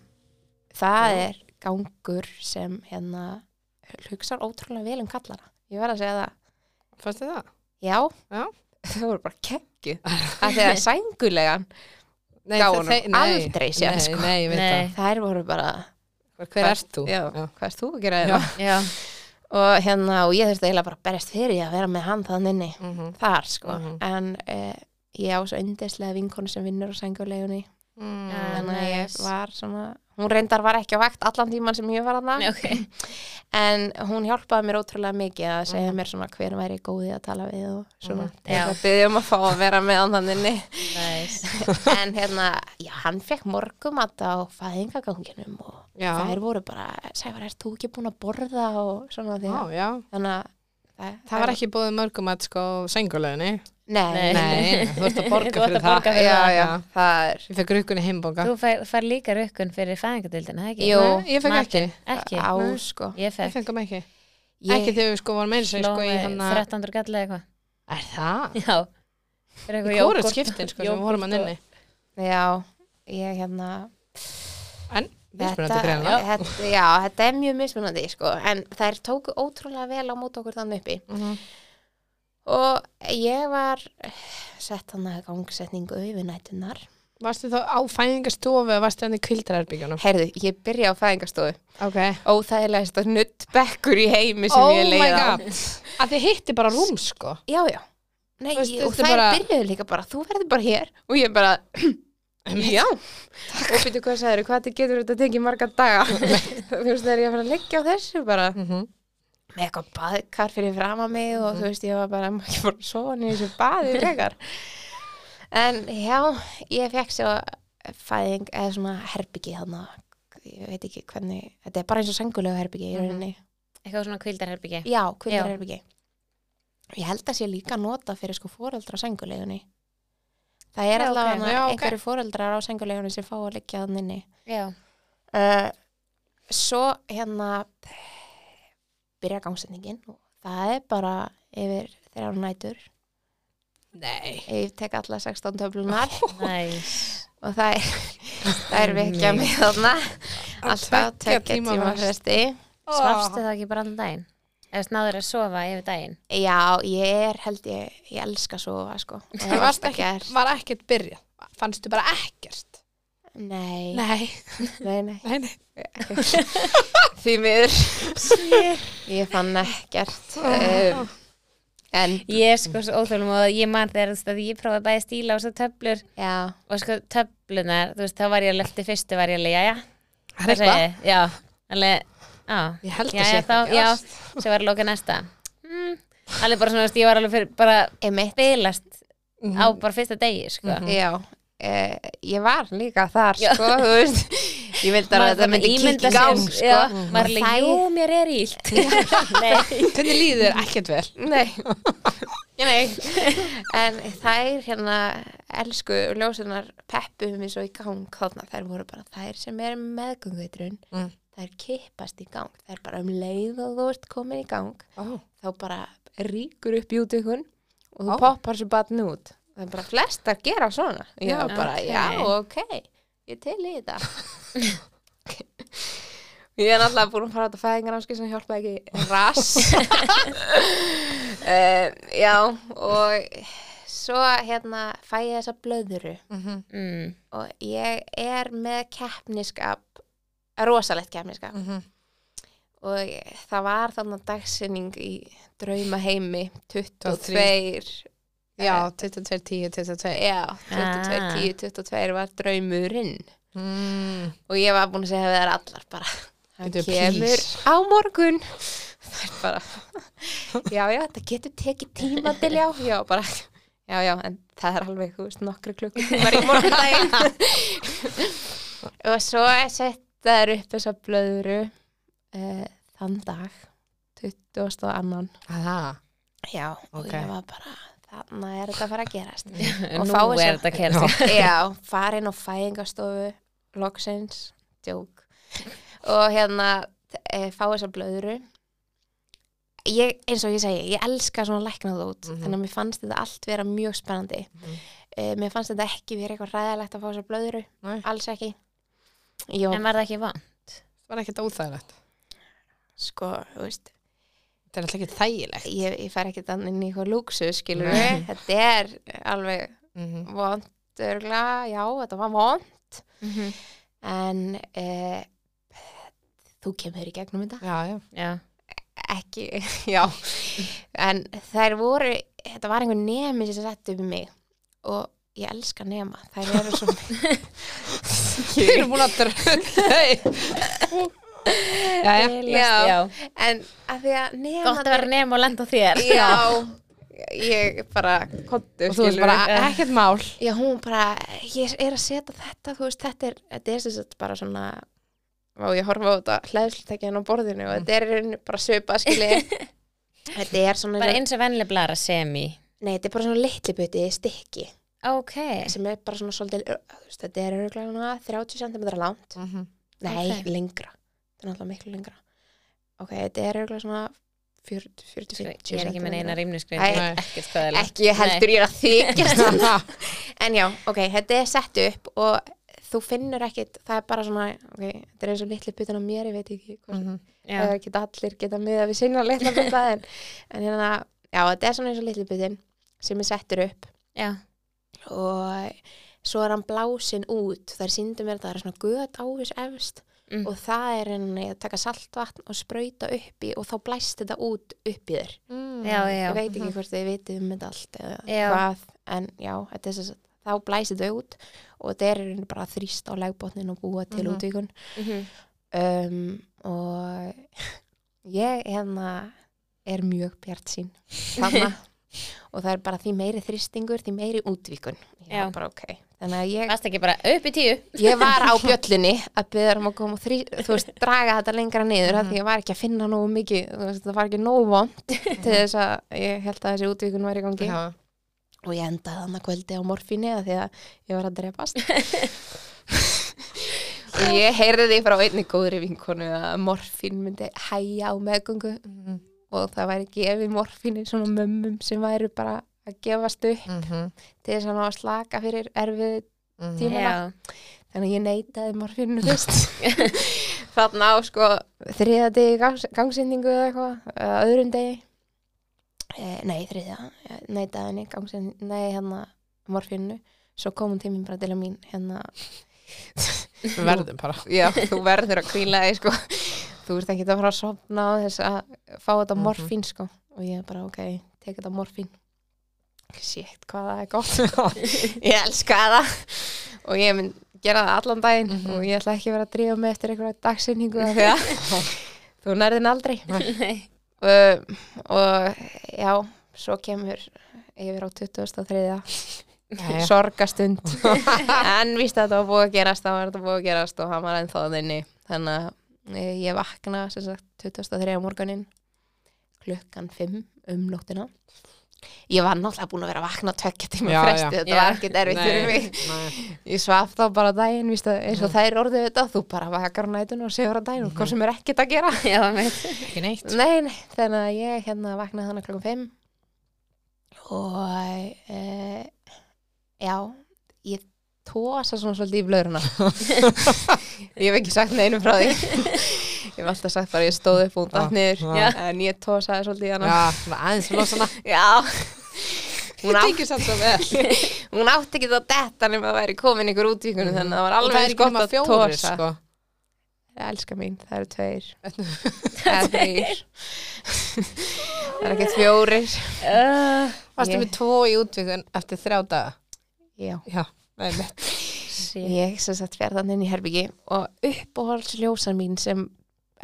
það er gangur sem hérna hugsar ótrúlega vel um kallara ég verð að segja það, Fannst þið það? já, Já. þau voru bara kekki af því að sængulegan Nei, Gá þe- honum. þe- nei. Aldrei séð, Nei, sko. Nei, ég veit Nei. það. þær voru bara Hver Hvað- ert þú? já, hvað erst þú að gera Já. þetta Já, og hérna, og ég þurfti eiginlega bara að berjast fyrir því að vera með hann þann inni Mhm. þar sko Mhm. en uh, ég á svo yndislega vinkonu sem vinnur á sængulegunni Ah, þannig að ég nice. var svona hún reyndar var ekki á vakt allan tíman sem ég var Nei, hana Mm. ok en hún hjálpaði mér ótrúlega mikið að segja mér svona hver væri góði að tala við og svona Mhm. til þess Já. að byggja um að fá að vera með hann þannig inni. Nice en hérna, já, hann fekk morgumat á fæðingaganginum og Já. þær voru bara, Sævar, ert þú ekki búin að borða og svona því Já, að já. þannig að það, Það var ekki búið mörgum að sko senguleginni. nei, Nei. Nei, þú ert að Þú borga ert fyrir að borga það. fyrir já, það. já, það er Ég fekk rukkunni heimbóka. Þú fær, fær líka rökkun fyrir fæðingadildina, það ekki? Jú. Nei, ég fekk ekki. Matinn. Ekki? á Nei. sko Ég Ég fekk fekk um ekki. Ég- Ekki þegar við sko varum meira sem Sló sko í mig hann 1300 gall eða eitthvað Er það? Já Fyrir Í eitthvað kóruð jógúrt- skiptin sko sem við jógúrt vorum að og- nynni. Já, ég hérna En, mismunandi greinlega. þetta, já, þetta er mjög mismunandi sko, en þær tóku ótrúlega vel á mót okkur þannig uppi Mhm. og ég var eh, sett hann að gangsetningu yfir nætunar Varstu þá á fæðingastofu eða varstu hann í kvildarherbyggjunum? Heyrðu, ég byrja á fæðingarstofu Ok. óþægilegasta nuttbekkur í heimi sem ég leið á Að þið hitti bara rúm sko. Já, já Nei, Þú veist, ég, og þetta er þær bara- byrjuðu líka bara, þú verður bara hér og ég bara, já og byrju hvað sagður, hvað þetta getur þetta tekið marga daga þú veist, þegar ég að fara að leggja á þessu bara Mhm. með eitthvað baðkar fyrir fram að mig og þú veist, ég var bara, maður ekki bara sofa niður í þessu baði frekar en já, ég fekk svo fæðing, eða svona herbyggi þarna, ég veit ekki hvernig þetta er bara eins og sengulegu herbyggi í Mhm. rauninni Eitthvað svona kvildarherbyggi já, kvildar herbyggi ég held að sé líka nota fyrir sko foreldra á sengulegunni það er Já, allavega ok. Já, ok. einhverju foreldrar á sengulegunni sem fá að leggja þann inni Já uh, svo hérna byrja gangsetningin og það er bara yfir þrjár nætur Nei. ég tek alla 16 töflunar Nice og það er, það er vekja mig þarna alltaf tveggja tekja tíma tíma fresti Svafstu það ekki bara allan daginn? Eða snáður að sofa yfir daginn? já, ég er held ég ég elska að sofa sko og Ég það varst alltaf ekki, gert. var ekkert byrjað. Fannstu bara ekkert? nei, Nei. nei, nei Nei, nei. því miður ég fann ekkert um, en Ég er sko svo óþjólum og ég man þegar þú veist, að ég prófaði bæði stíla og svo töflur já, og sko töflunar, þú veist, þá var ég alveg eftir fyrstu var ég alveg, jæja Það er Hvað eitthvað. segið þið? Já, alveg, á Ég held að Jæja, sé þá, eitthvað. já, gerst. svo var loka næsta mm, Alveg bara svona, þú veist, ég var alveg fyrir bara emitt bilast Mhm. á bara fyrsta degi, sko Mhm. Já, eh, ég var líka þar Já. sko, þú veist ég vildi að þetta myndi kikki í gang sko. Já, maður Og er þær- alveg, jú, mér er ílt Nei, Hvernig líður þér ekkert vel? Nei. Nei En þær hérna elsku ljósunar peppu mig svo í gang þarna, þær voru bara þær sem er meðgönguitrun Mm. þær kippast í gang, þær bara um leið og þú ert komin í gang Oh. þá bara ríkur upp júdukun og þú Ó. poppar svo batn út það er bara flestar gera svona já, Já, bara, ok. já, ok, ég til í þetta ég er náttúrulega búin að fara á þetta fæðinganámski sem hjálpa ekki rass um, já, og svo hérna fæ ég þessa blöðuru Mhm, mm, og mhm, ég er með keppniskap rosalegt keppniskap og það var þannig dagsinning í draumaheimi 22 23. Já, 22, 10, 22 eh, já, 22, 10, 22 var draumurinn mm. og ég var búin að segja við þær allar bara hann Bíddu, kemur please. á morgun það er bara já, já, þetta getur tekið tíma til já, já, bara já, já, en það er alveg, þú veist, nokkru klukkutímar í morgundaginn og svo setja þær upp þessa blöðru uh, þann dag 20. annan Aha, já, Ok. og ég var bara þarna er þetta að fara að gerast En Og nú fáið er sér- þetta kærast Já, farin á fæðingastofu loksins, djók og hérna e, fá þessa blöðru ég, eins og ég segi, ég elska svona læknað út, Mhm. þannig að mér fannst þetta allt vera mjög spennandi Mhm. e, mér fannst þetta ekki vera eitthvað ræðilegt að fá þessa blöðru Nei. alls ekki Jó, En var það ekki van? það var ekkert óþægilegt sko, þú veist Það er alltaf ekki þægilegt ég, ég fær ekki þannig inn í eitthvað lúksu, skilur Nei. þetta er alveg Mhm. vond, örgla, já, þetta var vond en e, þú kemur í gegnum þetta Já, já Já, ekki, já en þær voru, þetta var einhver nemi sem sett upp í mig og ég elska nema, þær eru svo Þið eru búin að drölla Jæja. já. Já. já. en að því að nema Gott að vera nefn og lenda á þér já, ég bara kontu, Og þú veist bara ekkert mál já, hún bara, ég er að setja þetta þú veist, þetta er, þetta er sem sagt bara svona og ég horfa á þetta hlæðslutækjan á borðinu og þetta er í rauninni bara söpa, skilji þetta er svona Bara eins og venlega blara semi Nei, þetta er bara svona litli buti stykki Ok sem er bara svona svolítið, ö, þú veist, þetta er örgulega svona 30 cm langt. Mhm. Nei, Ok. lengra. Þetta er náttúrulega miklu lengra. Ok, þetta er örgulega svona 40-50 Ég cm. er ekki með neina rýmnisgrein Nei. Ég veit ekkert hvað er Ekki, ég heldur ég er að þykjast. en já, ok, þetta er sett upp og þú finnur ekkit, það er bara svona, ok, þetta er eins og litli butin á mér, ég veit ekki hvort Mm, Mhm. Já, eða geta allir geta miða við sinna litla bita en, en hérna, já, þetta er svona eins og litli bitin sem er settur upp já, og svo er hann blásin út þar síndum mér að það er svona göt ávis efst Mm. og það er henni að taka saltvatn og sprauta upp í og þá blæst þetta út upp í þér já, já Mhm. ég veit ekki hvort þið vitið um þetta allt eða Já. hvað, en já, þetta er svo þá blæst þetta út og þetta er í rauninni bara að þrýst á legbotnin og búa til Mhm. útvíkun Mhm. um, og ég hérna er mjög bjart sín þarna og það er bara því meiri þristingur, því meiri útvíkun ég Já. var bara ok þannig að ég, Varst ekki bara upp í tíu ég var á bjöllunni að byrja um að koma og þrý, þú veist, draga þetta lengra niður af því ég var ekki að finna nógu mikið þú veist, það var ekki nógu vond til þess að ég held að þessi útvíkun var í gangi Já, og ég endaði þannig kvöldi á morfíni af því að ég var að drepast og ég heyrði því frá einni góðri vinkonu að morfín myndi hæja á meðgöngu Mhm. og það væri gefið morfíni svona mömmum sem væri bara að gefast upp Mhm. til þess að ná að slaka fyrir erfið Mhm. Tíma. Já, þannig að ég neitaði morfínu fyrst þarna á sko þriða degi gangs, gangsendingu eða eitthvað, eða öðrum degi eh, nei þriða ég neitaði henni gangsendingu, nei hérna morfínu, svo kom hún til mín bara til að mín hérna, Við verðum bara já þú verður að kvíla þig sko þú ert ekki að fara að sofna á þess að fá þetta Mhm. morfín sko og ég bara ok, tek þetta morfín shit hvað það er gott ég elska það og ég mynd gera það allan daginn Mhm. og ég ætla ekki að vera að drífa mig eftir einhverja dagsinningu af því að þú nærðin aldrei nei og, og já, svo kemur yfir á 2003 Jæja. sorgastund en víst að þetta var búið að gerast það var þetta búið að gerast og hann var ennþá að þinni þannig að eh, ég vakna sem sagt 2003 morgunin klukkan 5 um nóttina ég var náttúrulega búin að vera að vakna tökja tíma Já, já. fresti, þetta var Já. ekkert erfitt fyrir mig Nei. Ég svaf þá bara daginn, víst að eins og það er orðið þetta, þú bara vakar á nætun og segur á daginn og hvað sem er ekkert að gera. Já, með Ekki neitt Mhm. Nei, nei, þannig að ég hérna vaknaði þannig klokkan 5 og e, já, ég tósa svona svolítið í blöðruna. ég hef ekki sagt neinum frá því. ég hef alltaf sagt bara ég stóð upp og hún datt niður, Já. en ég tósaði svolítið í hana. Já, svona aðeins losana Já. Ég Hún, á, tengir samt svo vel hún átti ekki Mhm. það detta nema sko. það væri komin ykkur útvíkunum þannig að það var Og það alveg er eins ekki gott nema að fjórir, tósa sko. elska mín, það eru tveir eða þrýr það eru ekki fjórir Uh, Varstu Ég- með tvo í útvíkun eftir þrjá daga? já, Já, einmitt. ég sem sagt fer þannig inn í herbyggi og uppáhaldsljósan mín sem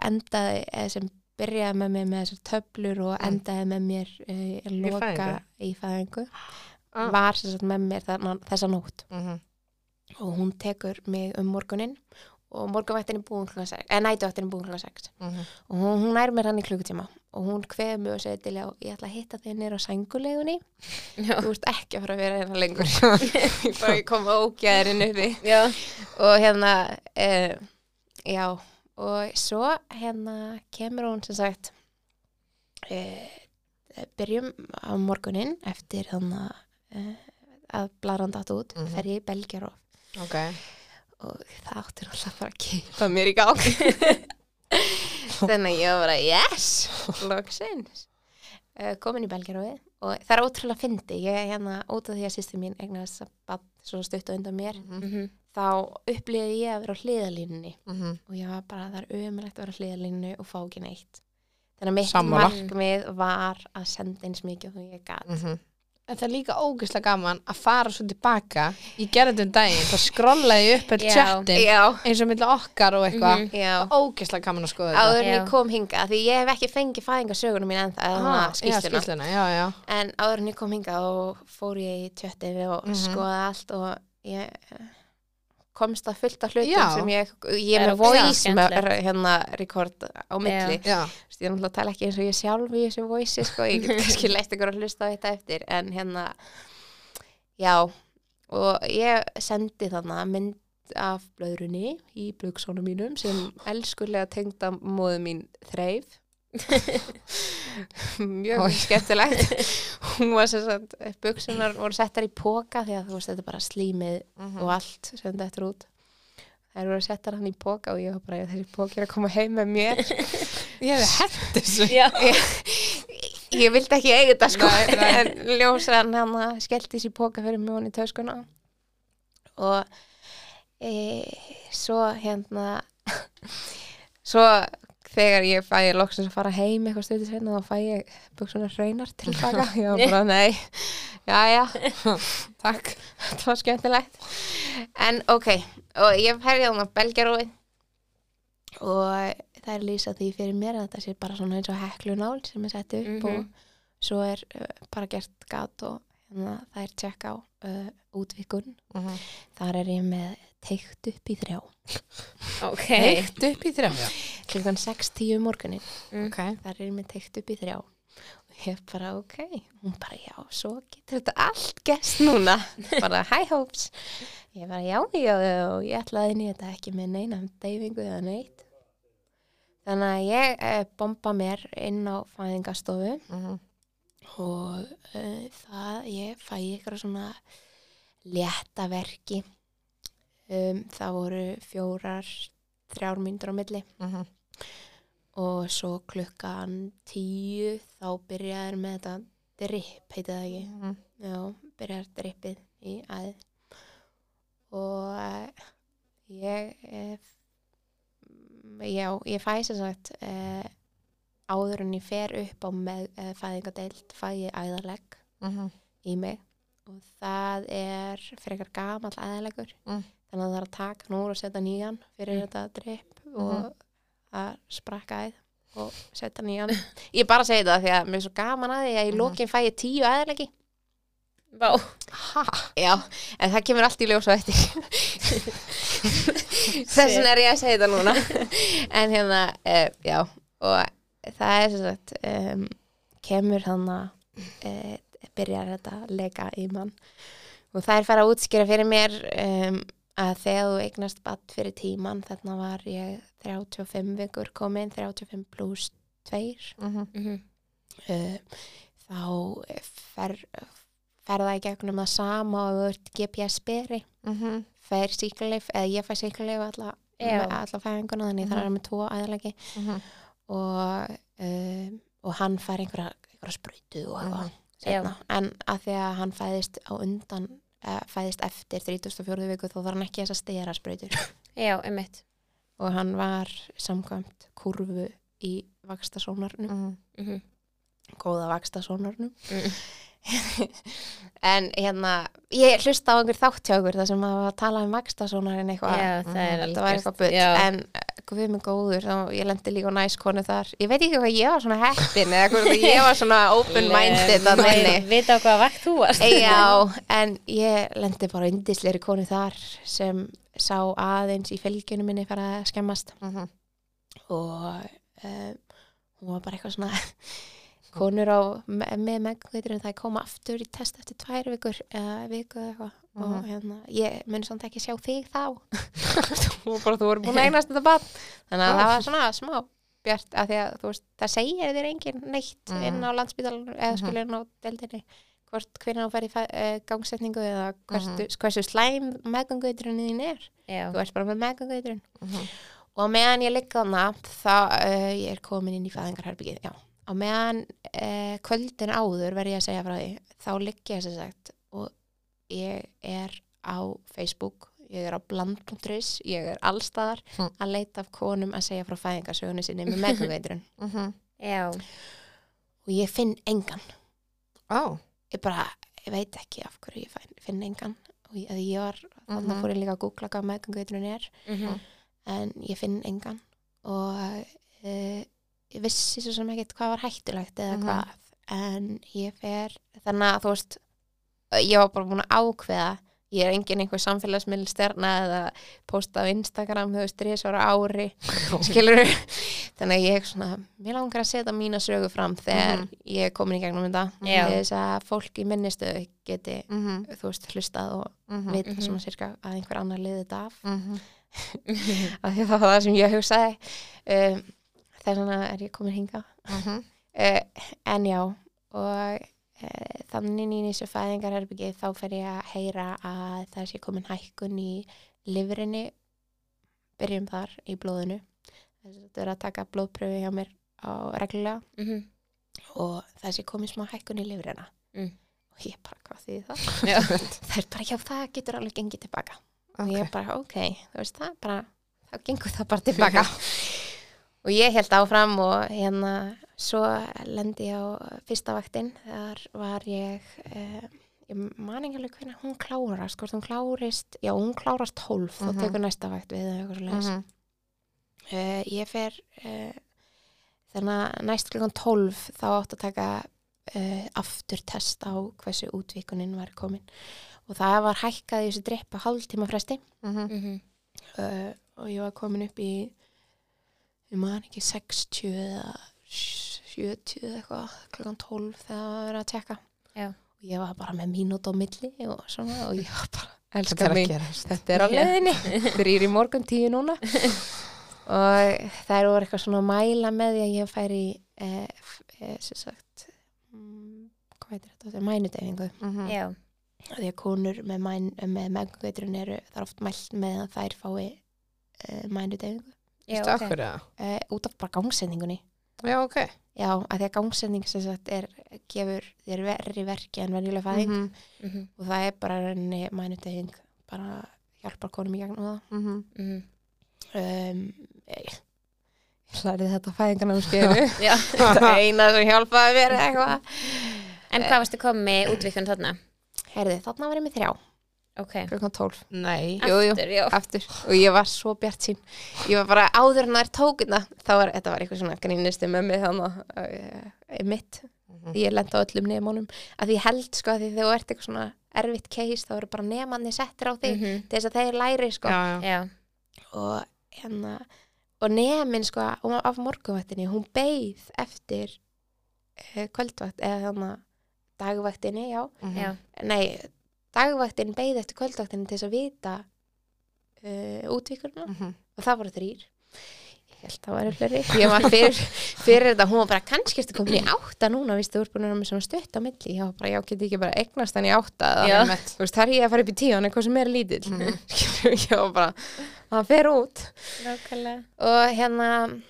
endaði, eða sem byrjaði með mér með þessar töflur og endaði með mér uh, loka fæðingu? í fæðingu Ah. var sem sagt með mér þarna, þessa nótt Mm -hmm. og hún tekur mig um morguninn og morgunvættin er búin klukkan 6 eða nætuvættin er búin klukkan 6 mhm. og hún, hún nær mér hann í klukkutíma og hún kveður mig og segir til ég ég ætla að hitta þig nýr á sængulegunni Já. þú ert ekki að fara að vera hérna lengur ég bara ég kom að ógja þér inn uppi já, og hérna uh, já og svo hérna kemur hún sem sagt uh, byrjum á morguninn eftir þannig uh, að blaran datt út Mhm. fer ég í belgjar Ok. og það áttir alltaf bara að keipa mér í gang þannig að ég var bara yes, loksins uh, komin í Belgarófið og það er ótrúlega fyndi, ég er hérna út af því að sýsti mín eignast að bann svo stutt á undan mér, Mm mhm, þá upplýði ég að vera á hliðalínunni -hmm. og ég var bara, það er umrætt að vera á hliðalínunni og fá ekki neitt þannig að mitt Sammála. markmið var að senda eins mikið og ég gat Mm En það er líka ógeðslega gaman að fara svo tilbaka Ég gerði þetta um daginn, þá skrollaði ég upp öll Já. chattin já, eins og milli okkar og eitthvað mm Mhm. já -hmm. Ógeðslega gaman að skoða þetta áður en ég Já. kom hinga því ég hef ekki fengið fæðingasögunum mín ennþá ah, já, skýstuna skýsluna, já, já En áður en ég kom hingað og fór ég í tjöttið og Mhm. skoðaði allt og ég eh, komst að fullta hlutum Já. sem ég, ég er Það er ógeðslega með voice með, skemmtilegt. hérna rekord á milli. Já, Þú veist, Ég er náttúrulega að tala ekki eins og ég sjálf í þessu voice, sko, ég get kannski leitt ykkur að hlusta á þetta eftir, en hérna, já, og ég sendi þannig mynd af blöðrunni í blöksónu mínum sem elskulega tengda móðu mín þreif mjög Oj. skemmtilegt hún var sem sagt, buksunar voru settar í póka því að þú veist þetta er bara slímið Mhm. Mm. og allt sem þetta er út þær voru settar hann í póka og ég var bara þessi póki er að koma heim með mér ég hefði hætt þessu já, ég vildi ekki eiga þetta sko Nei, nei. en ljósan hann að skellti sér póka fyrir mjög hann í töskuna og e, svo hérna svo þegar ég fæ ég loksins að fara heim eitthvað stöðu sveina þá fæ ég buksunar hreinar tilbaka ég var bara nei, já já Takk þetta var skemmtilegt en ok, og ég ferði þannig á Belgjarói og það er lýsa því fyrir mér að þetta sé bara svona eins og heklunál sem er sett upp Mhm. og svo er uh, bara gert gat og hérna, það er tjekk á uh, útvikun Mhm. þar er ég með teikt upp í þrjá ok Eitt upp í þrjá klukkan um 6.10 morgunin Ok þar er mér teikt upp í þrjá og ég bara ok, hún bara já svo getur þetta allt gest núna bara high hopes ég bara já, já, já, og ég ætlaði inn í þetta ekki með neina deyfingu eða neitt þannig að ég eh, bomba mér inn á fæðingastofu Mhm, og uh, það ég fæ ykkur svona létta verki um, það voru fjórar þrjár myndur á milli mhm. og svo klukkan tíu þá byrjaði með þetta dripp, heitið það ekki Mhm. já, byrjaði drippið í aðið og eh, ég eh, já, ég fæ sem sagt eh, áður en ég fer upp á með, eh, fæðingadeild fæ ég æðalegg Mhm. í mig og það er frekar gamall aðalegur Mm. þannig að það er að taka hann úr og setja nýjan fyrir Mm. þetta dripp og að sprakka aðeð og setja nýjan ég bara segi þetta því að mér er svo gaman að því að í Mhm. lokin fæ ég tíu aðalegi Vá, já, en það kemur allt í ljós á eftir þess vegna er ég að segja þetta núna en hérna, uh, já og það er sem sagt um, kemur hann að uh, byrjar þetta að leika í mann og það er fara að útskýra fyrir mér um, að þegar þú eignast batt fyrir tíman, þarna var ég 35 vikur komin, 35 pluss 2 mhm, Eh, þá fer, fer það í gegnum það sama og þú ert GPS beri mhm, fer síkuleif, eða ég fær síkuleif alla, Já. Mhm. með alla fæðinguna þannig það er með tvo aðalegi mhm, og, um, og hann fær einhverja, einhverja sprautu og Mhm. eitthvað seinna. en að því að hann fæðist á undan eh, fæðist eftir 34. viku þá þarf hann ekki þess að stera sprautur já, einmitt og hann var samkvæmt kurvu í vakstasónarnum Mhm. góða vakstasónarnum Mm. en hérna ég hlusta á einhver þátt hjá ykkur þar sem að var að tala um vakstasónarinn eitthvað Já, það er Mm, algjört, þetta var eitthvað bull já. en eh, guð mig góður, þá ég lendi líka á næskonu þar, ég veit ekki hvað ég var svona heppin eða hvort að ég var svona open minded að minni Ég veit á hvað vakt þú varst Já, en ég lendi bara yndisleiri konu þar sem sá aðeins í fylgjunum minni fara að skemmast mhm. og um, hún var bara eitthvað svona konur á me- með megnveitur en það koma aftur í test eftir tvær vikur eða viku eða eitthvað og Mhm. hérna, ég mun samt ekki sjá þig þá og bara þú voru búin að eignast þetta bann þannig að það var svona smá bjart af því að þú veist, það segir þér engin neitt Mhm. inn á landsbytalanum eða Mhm. skilur inn á deldinni hvort hvernig hún fer í fæ- eh, gangsetningu eða hversu, Mhm. hversu slæm meðgangauturinn þín er Já. þú ert bara með meðgangauturinn Mhm, og á meðan ég ligg þarna þá uh, ég er komin inn í fæðingarherbyggið já. á meðan uh, kvöldin áður verð ég að segja frá því þá ligg ég sem sagt og ég er á Facebook ég er á bland.ris ég er allstaðar Hm. að leita af konum að segja frá fæðingarsögunni sinni með meðgangauturinn mhm. Já. og ég finn engan Ó, ég bara, ég veit ekki af hverju ég finn, finn engan og ég, að ég var, þannig Mhm. fór ég líka að googla hvað meðgangauturinn er Mhm. en ég finn engan og uh, ég vissi svo sem ekkert hvað var hættulegt eða Mhm. hvað en ég fer þannig að þú veist ég var bara búin að ákveða ég er engin einhver samfélagsmiðl stjarna eða posta á Instagram þú veist, risvar á ári skilur þannig að ég svona, mér langar að setja mína sögu fram þegar Mhm. ég er komin í gegnum þetta Já. til þess að fólk í minni stöðu geti mhm, þú veist, hlustað og vita Mhm. svona sirka að einhver annar liði þetta af Mhm. af því að það var það sem ég hugsaði um, þess vegna er ég komin hinga Mhm. uh, en já og uh, þannig í þessu fæðingarherbyggi þá fer ég að heyra að það sé komin hækkun í lifurinni byrjum þar í blóðinu þess að þetta er að taka blóðpröfi hjá mér á reglulega Mhm. og það sé komin smá hækkun í lifurina Mm. og ég bara hvað því það Já. það er bara já það getur alveg gengið tilbaka og Ok. ég bara ok, þú veist það bara, þá gengur það bara tilbaka og ég held áfram og hérna svo lendi ég á fyrsta vaktinn þar var ég eh, ég man ekki alveg hvernig hún klárast hvort hún klárist, já hún klárast Mhm. 12 þá tekur næsta vakt við eða eitthvað svo leiðis Mhm. ég fer uh, þannig að næst klukkan 12 þá átt að taka uh, aftur test á hversu útvíkunin var komin og það var hækkað í þessu dreppa hálftíma fresti Mhm. Mhm. uh, og ég var komin upp í ég man ekki 60 eða 70 eða eitthvað klukkan 12 þegar það var verið að tjekka Já. og ég var bara með mínútt á milli og svona og ég var bara Þetta er elskar að mig gerast. þetta er á Já. leiðinni þrýr í morgun tíu núna og þær voru eitthvað svona að mæla með því að ég færi e, e, sem sagt mm, hvað heitir þetta, mænudefingu Mhm. Já. Af því að konur með, mæn, með meðgöðurinn eru það er oft mælt með að þær fái e, mænudefingu Já, Veistu af ok. hverju það? e, út af bara gangsendingunni Já, ok. já, að því að gangsending sem sagt er gefur þér verri verki en venjulega fæðing Mhm. Mhm. og það er bara rauninni mænudefing bara hjálpar konum í gegnum það Mhm. Mhm. um, ég ég lærði þetta á fæðingarnámskeiðinu Já. þetta er eina sem hjálpaði mér eða eitthvað En hvað varstu komið með útvikun þarna? heyrði þarna var ég með þrjá Ok. klukkan 12 Nei. Jú, jú. Aftur, já. aftur og ég var svo bjart sín ég var bara áður en það er tókina þá var, þetta var eitthvað svona grínustu með mig þannig uh, mitt Mhm. ég lenda á öllum nefnunum að því ég held sko að því þegar þú ert eitthvað svona erfitt case þá eru bara nefnarnir settir á þig Mhm. til þess að þeir læri sko Já, já. Já. og hérna og nefnin sko hún var af morgunvaktinni hún beið eftir uh, kvöldvakt eða þannig dagvaktinni, já Mhm. Já. nei, dagvaktin beið eftir kvöldvaktinni til þess að vita uh, útvíkurna Mhm. og það voru þrýr ég held það væri fleiri ég var fyrir, fyrir þetta, hún var bara kannski ertu komin í átta núna, víst þú ert búin að vera með svona stutt á milli, ég var bara, já, geti ekki bara eignast hann í átta, eða- Já. þú veist, það er ég að fara upp í tíu, hann er hvað sem er lítill Mhm. ég var bara, það fer út Nákvæmlega. og hérna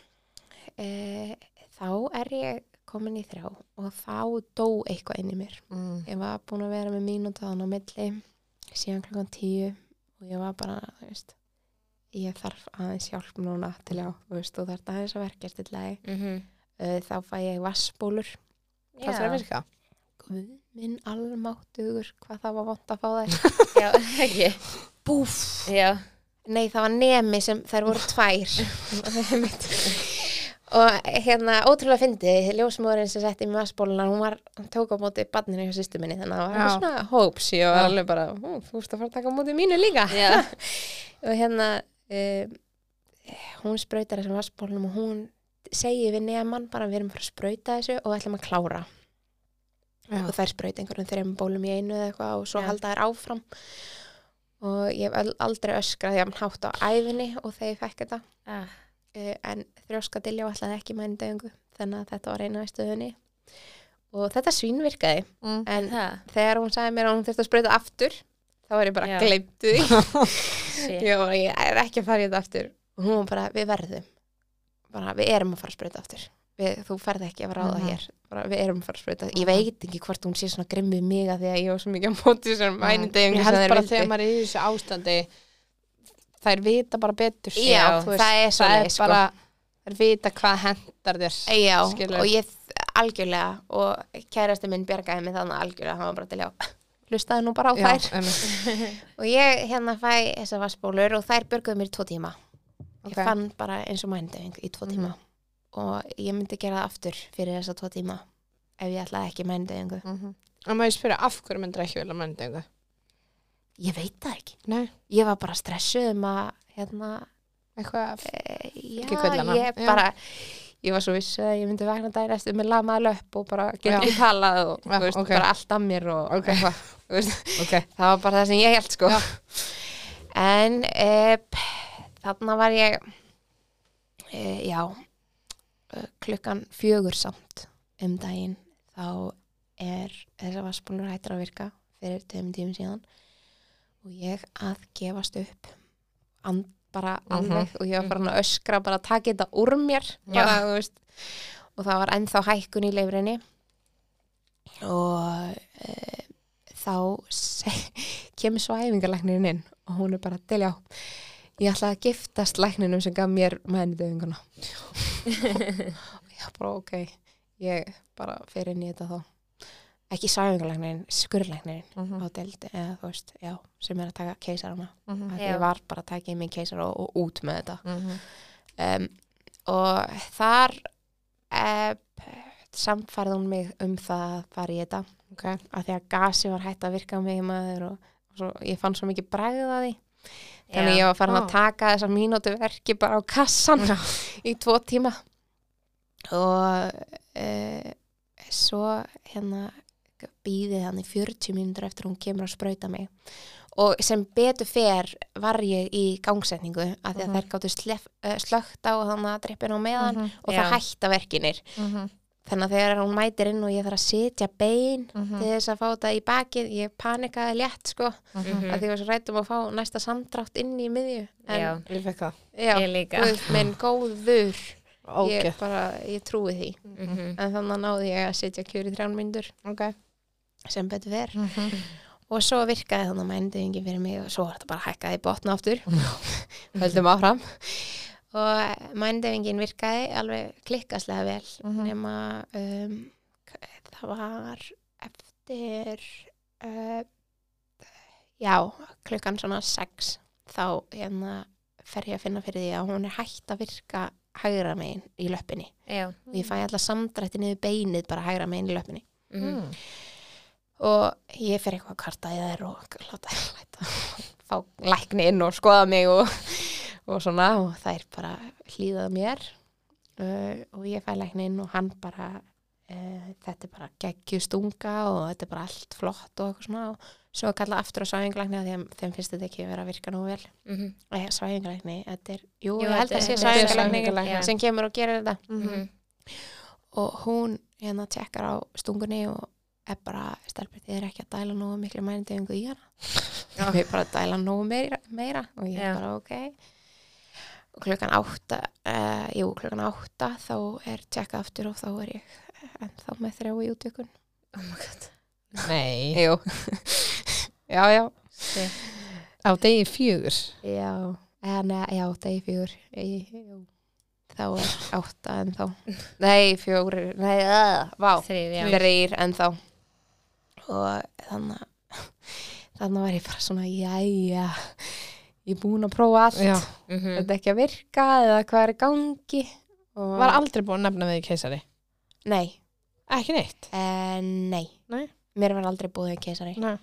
e, þá er ég komin í þrjá og þá dó eitthvað inn í mér Mhm. ég var búin að vera með mínútaðan á milli síðan klokkan tíu og ég var bara þú veist, ég þarf aðeins hjálp núna til já, þú veist, þú þarf aðeins að verkja til lagi Mhm. uh, þá fæ ég vassbólur Hvað það er að virka? Guð minn almáttugur hvað það var vont að fá þær Já, ekki. Búf! Já. Nei, það var nemi sem þær voru tvær Einmitt. og hérna, ótrúlega fyndið ljósmóðurinn sem setti í mig vassbóluna hún var, hún tók á móti badninu hjá sýstu minni þannig að það Já. var eitthvað svona hóps ég var Já. alveg bara, "Ú, þú veist að fara að taka á móti mínu líka Já. og hérna um, hún sprautar þessum vassbólnum og hún segir við neman bara við erum fyrir að sprauta þessu og við ætlum að klára Já. og þær sprauta einhverjum þreim bólum í einu eða eitthvað og svo Já. halda þær áfram og ég hef al- aldrei öskrað jafn hátt á æfinni og þegar ég fekk þetta Ah, uh, en þrjóska dilljá ætlaði ekki með einu dögungu þannig að þetta var eina í stöðunni og þetta svínvirkaði Mm. en það, þegar hún sagði mér að hún þurfti að sprauta aftur þá var ég bara Já. gleymdu því shit. Já, ég er ekki að fara í þetta aftur og hún var bara, við verðum bara, við erum að fara að sprauta aftur við, þú ferð ekki að fara á það Mhm. hér bara, við erum að fara að sprauta, ég veit ekki hvort hún sé svona grimmið mig að því að ég var svo mikið á móti Ég þessum mænindegum held bara þegar maður er í þessu ástandi þær vita bara betur Já, þú veist, það er það svoleiðis, er sko. bara þær vita hvað hendar þér Já, skilur. og ég algjörlega og kærasti minn bjargaði mig þannig algjörlega, hann var bara til já hlustaði nú bara á Já, þær einmitt. og ég hérna fæ þessar vassbólur og þær björguðu mér í tvo tíma Ok. Mhm. ég fann bara eins og mændefing í tvo tíma og ég myndi gera það aftur fyrir þessa tvo tíma ef ég ætlaði ekki mændefingu Mhm. og maður spyrir af hverju myndir ekki vilja mændingu ég veit það ekki, nei, ég var bara stressuð um að hérna, eitthvað e, já, Ekki kvillana, ég já. bara ég var svo viss að ég myndi vakna dæri eftir með lamaða löpp og bara get ekki talað og Já, þú veist, ok. bara allt að mér og Ok. eitthvað, þú veist, okay. það var bara það sem ég held sko Já. en e, þarna var ég e, já eh, klukkan fjögur samt um daginn þá er þessar vassbúnur hættur að virka fyrir tveim tímum síðan og ég að gefast upp and, bara alveg og ég var farin að öskra bara að taka þetta úr mér bara, þú veist, og það var ennþá hækkun í leifrinni og e, þá se- kemur svo æfingarlæknirinn inn og hún er bara til já ég ætlaði að giftast lækninum sem gaf mér mænudöfinguna já bara ok ég bara fer inn í þetta þá ekki sæfingarlæknirinn, skurlæknirinn á deild, eða þú veist, já sem er að taka keisarana Mhm. Að Já. ég var bara að taka í mig keisara og, og út með þetta um, og þar e, samfærði hún mig um það að fara í þetta ok, af því að gasi var hægt að virka á mig maður og, og svo, ég fann svo mikið bræðið að því þannig Já. ég var farin Ó. að taka þessa mínútu verki bara á kassan í tvo tíma og e, svo hérna býðið hann í 40 mínútur eftir hún kemur að sprauta mig og sem betur fer var ég í gangsetningu af því að Mhm. þær gáttu slef, eh, slögt á þannig að drippin á meðan Mhm. og Já. það hætta verkinir þannig að þegar hún mætir inn og ég þarf að sitja bein til þess að fá þetta í bakið ég panikaði létt sko mm. Mhm. að því ég var svo rættum að fá næsta samdrátt inn í miðju en, Já, ég fekk það já, ég líka. guð minn góður ég okay. bara, ég trúi því Mhm. en þannig að náði ég að sitja kjör í þrján myndur Okay. sem betur ver og svo virkaði þannig að mænduðingi fyrir mig og svo var þetta bara hækkaði í botna aftur höldum áfram og mændefingin virkaði alveg klikkaslega vel Mhm. nema um, k- það var eftir uh, já, klukkan svona 6 þá hérna fer ég að finna fyrir því að hún er hægt að virka hægra megin í löppinni Já. og ég fæ alltaf samdrætti niður beinið bara hægra megin í löppinni Mhm. og ég fer eitthvað að karta í þær og láta læta fá lækni inn og skoða mig og, og svona og þær bara hlýðað mér uh, og ég fæ lækni inn og hann bara uh, þetta er bara geggjustunga og þetta er bara allt flott og eitthvað svona og svo kalla aftur á svæðinglækni af því að þeim finnst þetta ekki vera að virka nú vel Mhm. eh, svæðinglækni, þetta er, jú, Jú, ég held þetta að er- sé þetta er svæðinglækni svæfingalæknir, sem kemur og gerir þetta Mhm. og hún hérna tekkar á stungunni og er bara, stelpur, þið er ekki að dæla nógu miklu mænindefingu í hana við erum bara að dæla nógu meira, meira og ég Já. er bara ok og klukkan átta uh, jú, klukkan átta þá er tekkað aftur og þá er ég ennþá með þrjá í útvikun Oh my god. nei, jú, já, já Shit. á degi fjögur já, en eh, já, degi fjögur Ég- jú. þá er átta en þá nei, fjórir, nei, uh, vá Þrýr, já. þrýr en þá og þannig að- þannig var ég bara svona, jæja ég er búin að prófa allt Já. Mhm. þetta er ekki að virka eða hvað er í gangi og... Var aldrei búin að nefna við keisari. nei, Ekki neitt. uh, nei. Nei. mér var aldrei búið keisari Nei.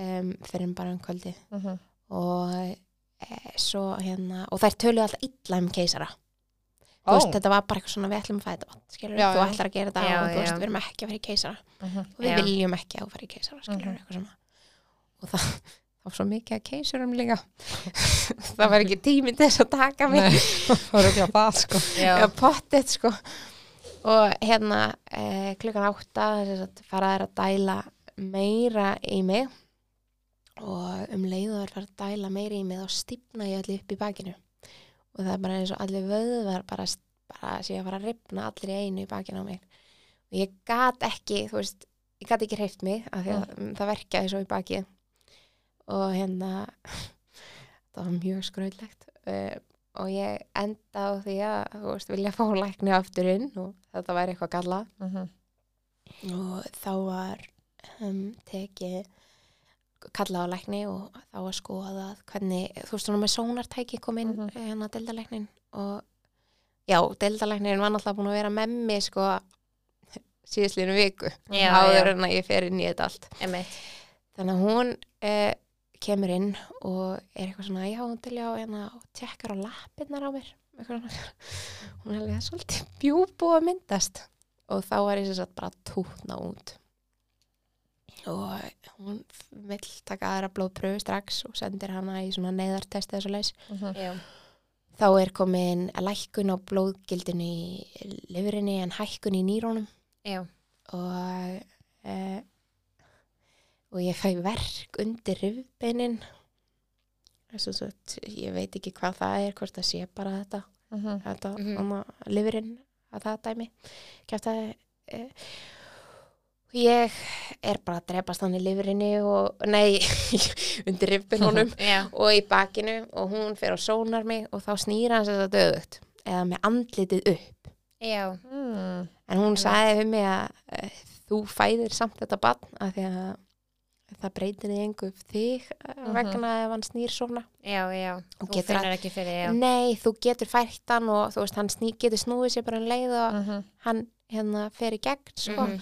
um, fyrir bara um kvöldi Uh -huh. og e, svo hérna og þær töluðu alltaf illa um keisara Ó. þú veist, þetta var bara eitthvað svona við ætlum að fæða þetta vant, skilur, Já, þú já. ætlar að gera þetta Já, og þú veist, já. við erum ekki að fara í keisara Uh -huh. og við Já. viljum ekki að þú fara í keisara, skilur, Mhm. eitthvað svona og það það var svo mikið að keisurum líka það var ekki tími til þess að taka mig Nei, það er ekki að það sko. Já. eða pottet sko og hérna eh, klukkan átta þess að fara þær að dæla meira í mig og um leið og þær fara að dæla meira í mig þá stífna ég allir upp í bakinu og það er bara eins og allir vöðvar bara, bara sé að fara að ripna allir í einu í bakinu á mig og ég gat ekki, þú veist ég gat ekki hreift mig af því að það verkjaði svo í bakið og hérna það var mjög skröldlegt uh, og ég enda á því að þú veist, vilja fá lækni aftur inn og þetta væri eitthvað galla Uh -huh. og þá var um, tekið kallað á lækni og þá var skoðað hvernig, þú veist, svona með sónartæki kom inn mm Mhm. -hmm. hérna deildalæknin og já, deildalæknin var náttúrulega búin að vera með mig sko síðuslinu viku Já, áður já. en að ég fer inn í þetta allt Einmitt. þannig að hún eh, kemur inn og er eitthvað svona já, hún til já, hérna, og tekkar á lappirnar á mér eitthvað svona hún er alveg "Það er svolítið bjúbú að myndast og þá var ég sem sagt bara að tútna út og hún vill taka aðra blóðpröfu strax og sendir hana í svona neyðartesti þessu leis Já. þá er komin lækkun á blóðgildinu í lifurinni en hækkun í nýrónum Já. og uh, og ég fæ verk undir rifbeinin þess að svo ég veit ekki hvað það er hvort það sé bara þetta þetta mm Mhm. lifurinn að það dæmi kæftaði uh, ég er bara að drepast hann í lifurinni og nei, undir rifbeinunum Já. og í bakinu og hún fyrir og sónar mig og þá snýra hans þetta döðugt eða með andlitið upp Já. Mm. En hún Einmitt. sagði við mig að eh, þú fæðir samt þetta barn af því að það breytir þig engu þig eh, vegna ef hann snýr svona. Já, já. Og Mhm. Þú getur Mm, finnur ekki fyrir, já. Nei, þú getur fært hann og þú veist, hann sný, getur snúið sér bara um leið og Uh -huh. hann hérna fer í gegn, sko. Mhm.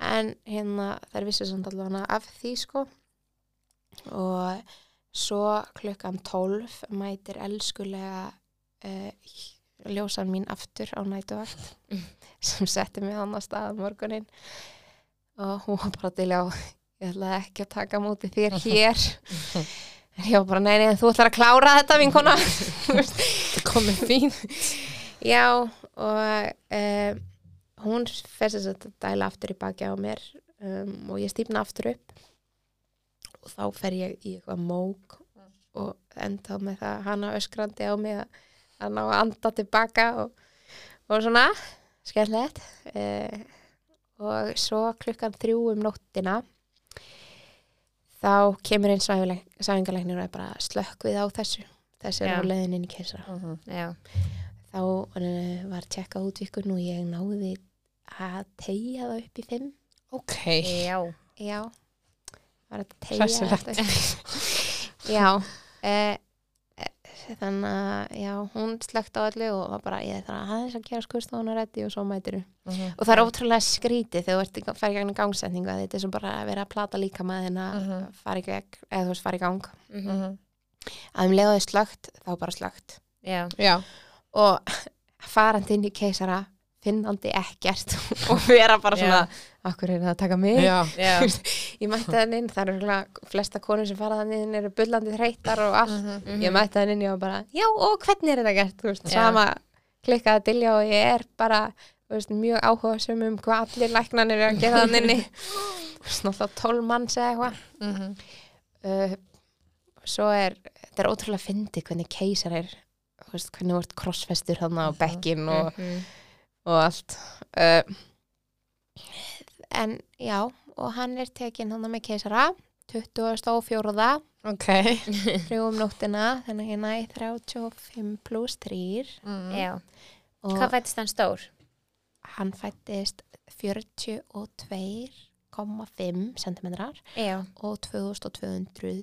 En hérna, þær vissu samt allavega af því, sko. Og svo klukkan 12 mætir elskulega uh, ljósan mín aftur á nætuvakt sem setti mig hann að staða morgunin og hún var bara til á ég ætlaði ekki að taka á móti þér hér en ég var bara, nei, nei, en þú ætlar að klára þetta, vinkona það komið fín já, og um, hún fyrst þess að dæla aftur í baki á mér um, og ég stífna aftur upp og þá fer ég í eitthvað mók og enda með það hana öskrandi á mig að- að ná að anda tilbaka og, og svona skemmtilegt uh, og svo klukkan þrjú um nóttina þá kemur einn sæfingarleiknir og er bara slökkvið á þessu þessu er Já. á leiðin inn í keisara Já. þá eh, var tjekkað útvikun og ég náði að tegja það upp í fimm Ok. Já. já var að tegja Hressilegt. þetta upp já eh, eh, þannig að já, hún slögt á öllu og var bara ég þarf að aðeins að gera skurstofunar reddi og svo mætir og það er ótrúlega skrítið þegar þú ert að fara í gegnum gangsetningu að þetta er svo bara að vera að plata líka maður en að Mhm. fara í gegn, eða þú veist fara í gang Mhm. að um leiðaði slögt, þá bara slögt Já. Já. og farandi inn í keisara finnandi ekkert og vera bara svona okkur er það að taka mig Já. Já. ég mætti þann inn, það eru örugglega flesta konur sem fara þann inn eru bullandi þreytar og allt Mhm. ég mætti þann inn og bara, já og hvernig er þetta gert þú veist, Já. sama klikkaða dilja og ég er bara, þú veist, mjög áhuga um hvað allir læknanir eru að gera þann inni Þú veist, náttúrulega tól manns eða eitthvað uh, svo er þetta er ótrúlega fyndi hvernig keisar er þú veist, hvernig þú ert krossfestur hann á bekkin og, Mhm. og allt uh, en já og hann er tekin hann með keisara 24. Ok. þrjú um nóttina, þannig að hérna er 35 pluss 3 Mm. Já. og Hvað fættist hann stór? hann fættist 42,5 cm Já. og 2200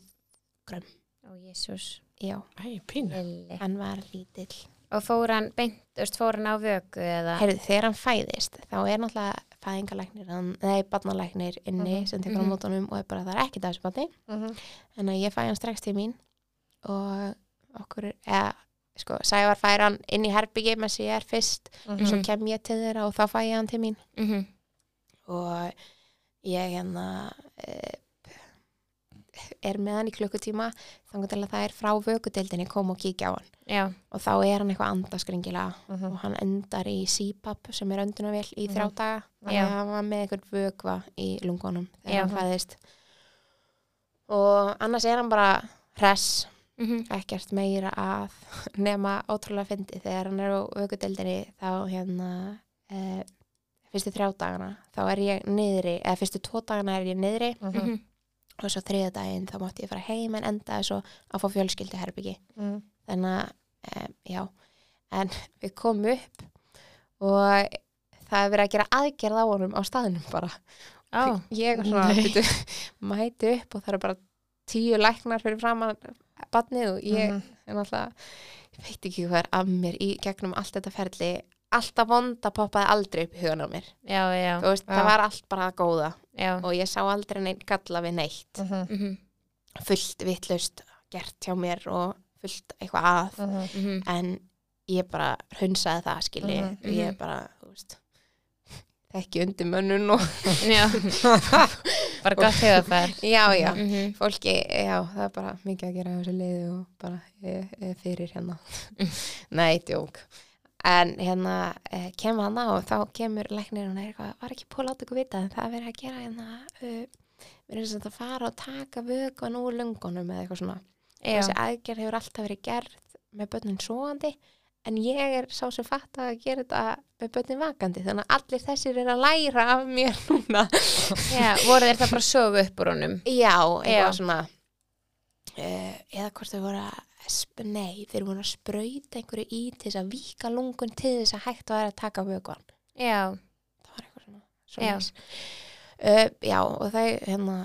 Ó, Jésús. já, Æ, pínu. Lilli. hann var lítill Og fór hann beint, þú veist, fór hann á vöku eða? Heyrðu, þegar hann fæðist, þá er náttúrulega fæðingalæknir, hann, nei, barnalæknir inni Mhm, sem tekur á mhm. mótunum og er bara það er ekki þessu barni, Mhm. en að ég fæ hann strax til mín og okkur, eða, sko, Sævar fær hann inn í herbyggi með sér fyrst Mhm. svo kem ég til þeirra og þá fæ ég hann til mín Mm -hmm. og ég hérna eh, er með hann í klukkutíma þannig til að það er frá vökudeildinni kom og kíkja á hann Já. og þá er hann eitthvað andaskringilega og Mhm. hann endar í CPAP sem er öndunarvél í Mhm. þrjá daga þannig Já. að hann var með einhvern vökva í lungunum þegar Já. hann fæðist og annars er hann bara hress, Mm ekkert meira að nema ótrúlega fyndi þegar hann er á vökudeldinni þá hérna e, fyrstu þrjá dagana þá er ég niðri, eða fyrstu tvo dagana er ég niðri Mhm. og svo þriða daginn þá mátti ég fara heim en endaði svo að fá fjölskyldu Mhm. þannig að um, já, en við komum upp og það er verið að gera aðgerð á honum á staðnum bara Ó, ég er svona, Nei. byrju, mæti upp og það eru bara tíu læknar fyrir framan badnið og ég Mhm. er náttúrulega ég veit ekki hvað er af mér í gegnum allt þetta ferli alltaf vonda poppaði aldrei upp í hugan á mér já, já, Þú veist, Já. það var allt bara að góða já. og ég sá aldrei neinn galla við neitt Mhm. Mhm, fullt vitlaust gert hjá mér og fullt eitthvað að Mhm. mhm. en ég bara hunsaði það skilji, Mhm, mhm. ég bara þú veist, ekki undir mönnun og Já. Bara gott hefur þar. já, já, Mm -hmm. fólki já, það er bara mikið að gera á þessu liði og bara ég, ég fyrir hérna nei, djók en hérna, eh, kem hann á og þá kemur læknir og hann er eitthvað var ekki pól átt ykkur vita, en það er verið að gera hérna, uh, við erum sem sagt að fara og taka vökan úr lungunum eða eitthvað svona Já. þessi aðgerð hefur alltaf verið gerð með börnin svoandi en ég er sá sem fatt að gera þetta með börnin vakandi þannig að allir þessir er að læra af mér núna já, voru þeir það bara að sofa upp úr honum? já, eitthvað Já. svona uh, eða hvort þau voru að sp- nei, þeir voru að sprauta einhverju í til þess að vika lungun til þess að hægt var að taka vökuan Já, það var eitthvað svona, svona uh, já, og þau hérna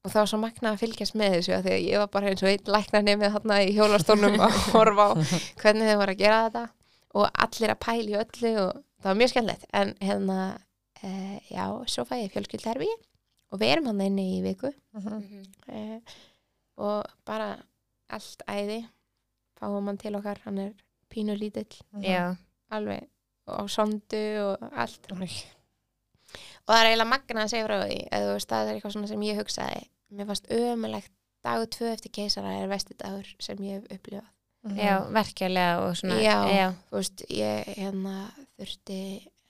og það var svo magna að fylgjast með þessu af því að ég var bara eins og einn læknar nefnið þarna í hjólastónum að horfa á hvernig þau voru að gera þetta og allir að pæla í öllu og það var mjög skemmtilegt en hérna, e, já, svo fæ ég fjölskyldherfi og við erum hann inni í viku Mhm. Mhm. e, og bara allt æði fáum hann til okkar, hann er pínu lítill já, alveg og á sondu og allt Æ. og það er eiginlega magna að segja frá því eða þú veist, það er eitthvað svona sem ég hugsaði mér fannst ömulegt dagu tvö eftir keisara er vesti dagur sem ég hef upplifað já, verkeflega og svona. Já. já. þú veist, ég hérna þurfti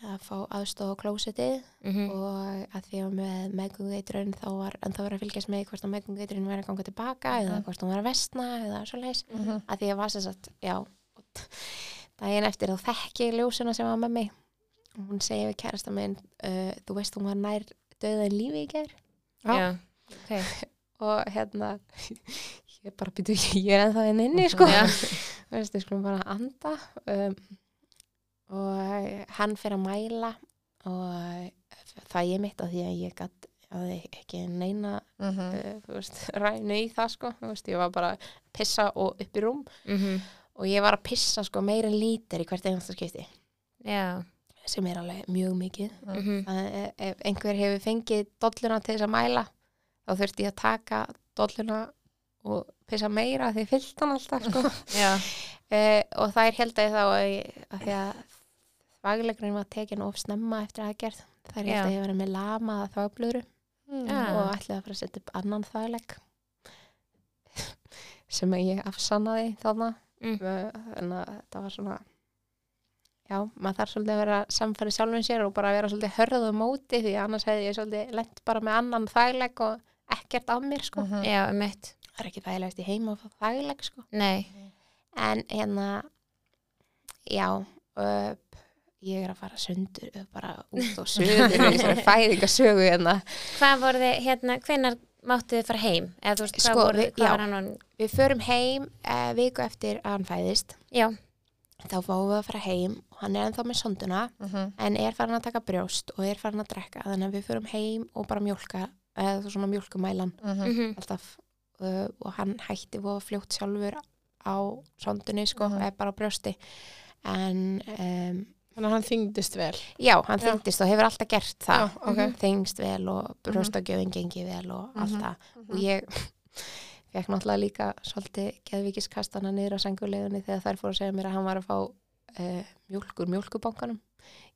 að fá aðstofa á klósetið mhm. og að því að með meðgungeitrun þá var, en það var að fylgjast með hvort að meðgungeitrun var að ganga tilbaka eða Mhm. hvort hún var að vestna eða svoleiðis Mhm. að því að var sem sagt, já og t- daginn eftir þá þekki ég ljósuna sem var með mig og hún segi við kærasta minn uh, þú veist hún var nær döða en lífi í gær Já. Já, ok. og hérna ég bara býtu ekki, ég er ennþá enn inni sko Já. Þú veist, við skulum bara anda um, og hann fyrir að mæla og það ég mitt að því að ég gat að ekki neina Mhm. uh, þú veist, rænu í það sko Þú veist, ég var bara að pissa og upp í rúm Mhm. og ég var að pissa sko meira en lítir í hvert einasta skipti Já, sem er alveg mjög mikið mhm. Það er- ef einhver hefur fengið dolluna til þess að mæla þá þurfti ég að taka dolluna og pissa meira því fyllt hann alltaf sko já, Eh, og það er held að þá að, ég- að því að þvagilegurinn var tekin of snemma eftir aðgerð það er held Já. að ég verið með lamaða þvagblöðru Já. og ætlaði að fara að setja upp annan þvagileg sem að ég afsannaði þarna Mm. Eh, þannig að það var svona já, maður þarf svolítið að vera samfæri sjálfum sér og bara vera svolítið hörð og móti því að annars hefði ég svolítið lent bara með annan þvagileg og ekkert af mér sko Mhm. já, mitt. það er ekki þægilegast í heima að fá þvagileg sko Nei, en hérna já öp, ég er að fara sundur ö, bara út og sögur í þessari fæðingasögu hérna hvað voru þið, hérna, hvenar máttu þið fara heim? Eða þú veist, Sko, hvað, voru, við- hvað já. var hann on? Við förum heim eh, viku eftir að hann fæðist Já, þá fáum við að fara heim og hann er ennþá með sonduna en er farin að taka brjóst og er farin að drekka þannig að við förum heim og bara mjólka eða svona mjólkumælan mm -hmm. alltaf uh, og hann hætti voða fljótt sjálfur á sondunni sko, Mhm. eða bara á brjósti en um, Þannig að hann þyngdist vel. já, hann Já. þyngdist og hefur alltaf gert það Já, ok. Mhm. þyngst vel og brjóstagjöfin gengi vel og allt Mhm. það og ég fekk náttúrulega líka svolítið geðvikiskastana niður á sengulegunni þegar þær fóru að segja mér að hann var að fá uh, mjólk úr mjólkubankanum